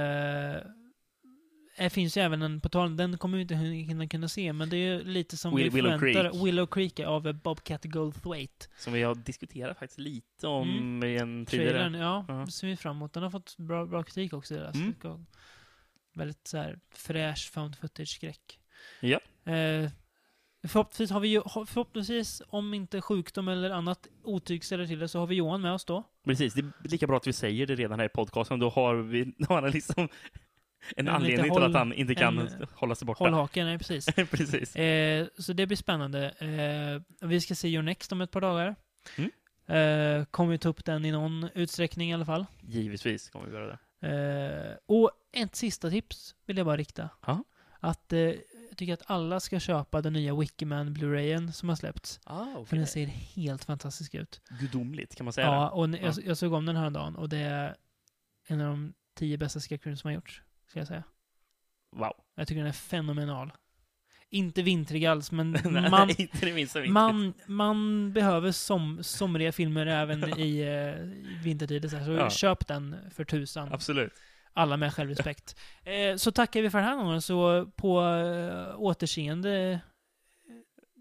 det finns ju även en, på tal den kommer vi inte hinna kunna se, men det är ju lite som Will- vi Willow förväntar Creek. Willow Creek av Bobcat Goldthwait. Som vi har diskuterat faktiskt lite om Mm. i en Trailern, tidigare. ja, Ja. ser vi fram emot. Den har fått bra, bra kritik också i deras Mm. mm. Väldigt så här fräsch found footage-skräck. Ja. Eh, förhoppningsvis har vi ju, ho- förhoppningsvis, om inte sjukdom eller annat otyg ställer till det, så har vi Johan med oss då. Precis, det är lika bra att vi säger det redan här i podcasten. Då har vi då har han liksom en lite anledning håll- till att han inte kan en- eh, hålla sig borta. Håll haken, nej precis. precis. Eh, så det blir spännande. Eh, vi ska se Your Next om ett par dagar. Mm. Eh, kommer vi ta upp den i någon utsträckning i alla fall. Givetvis kommer vi göra det. Eh, och ett sista tips vill jag bara rikta. Ja. Att eh, jag tycker att alla ska köpa den nya Wikiman Blu-rayen som har släppts. Ah, För den ser helt fantastisk ut. Gudomligt, kan man säga Ja, och n- Ja. jag, jag såg om den här dagen och det är en av de tio bästa skräckfilmer som har gjorts. Ska jag säga. det? Wow. Jag tycker den är fenomenal. Inte vintrig alls, men Nej, man, inte det minsta vinkel. Man, man behöver som, somriga filmer även i eh, vintertider. Så, här. så Ja. köp den för tusan. Absolut. Alla med självrespekt. Eh, så tackar vi för den här gången. Så på eh, återseende eh,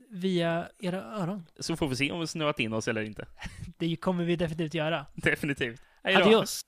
via era öron. Så får vi se om vi snöat in oss eller inte. Det kommer vi definitivt göra. Definitivt. Hej då. Adios!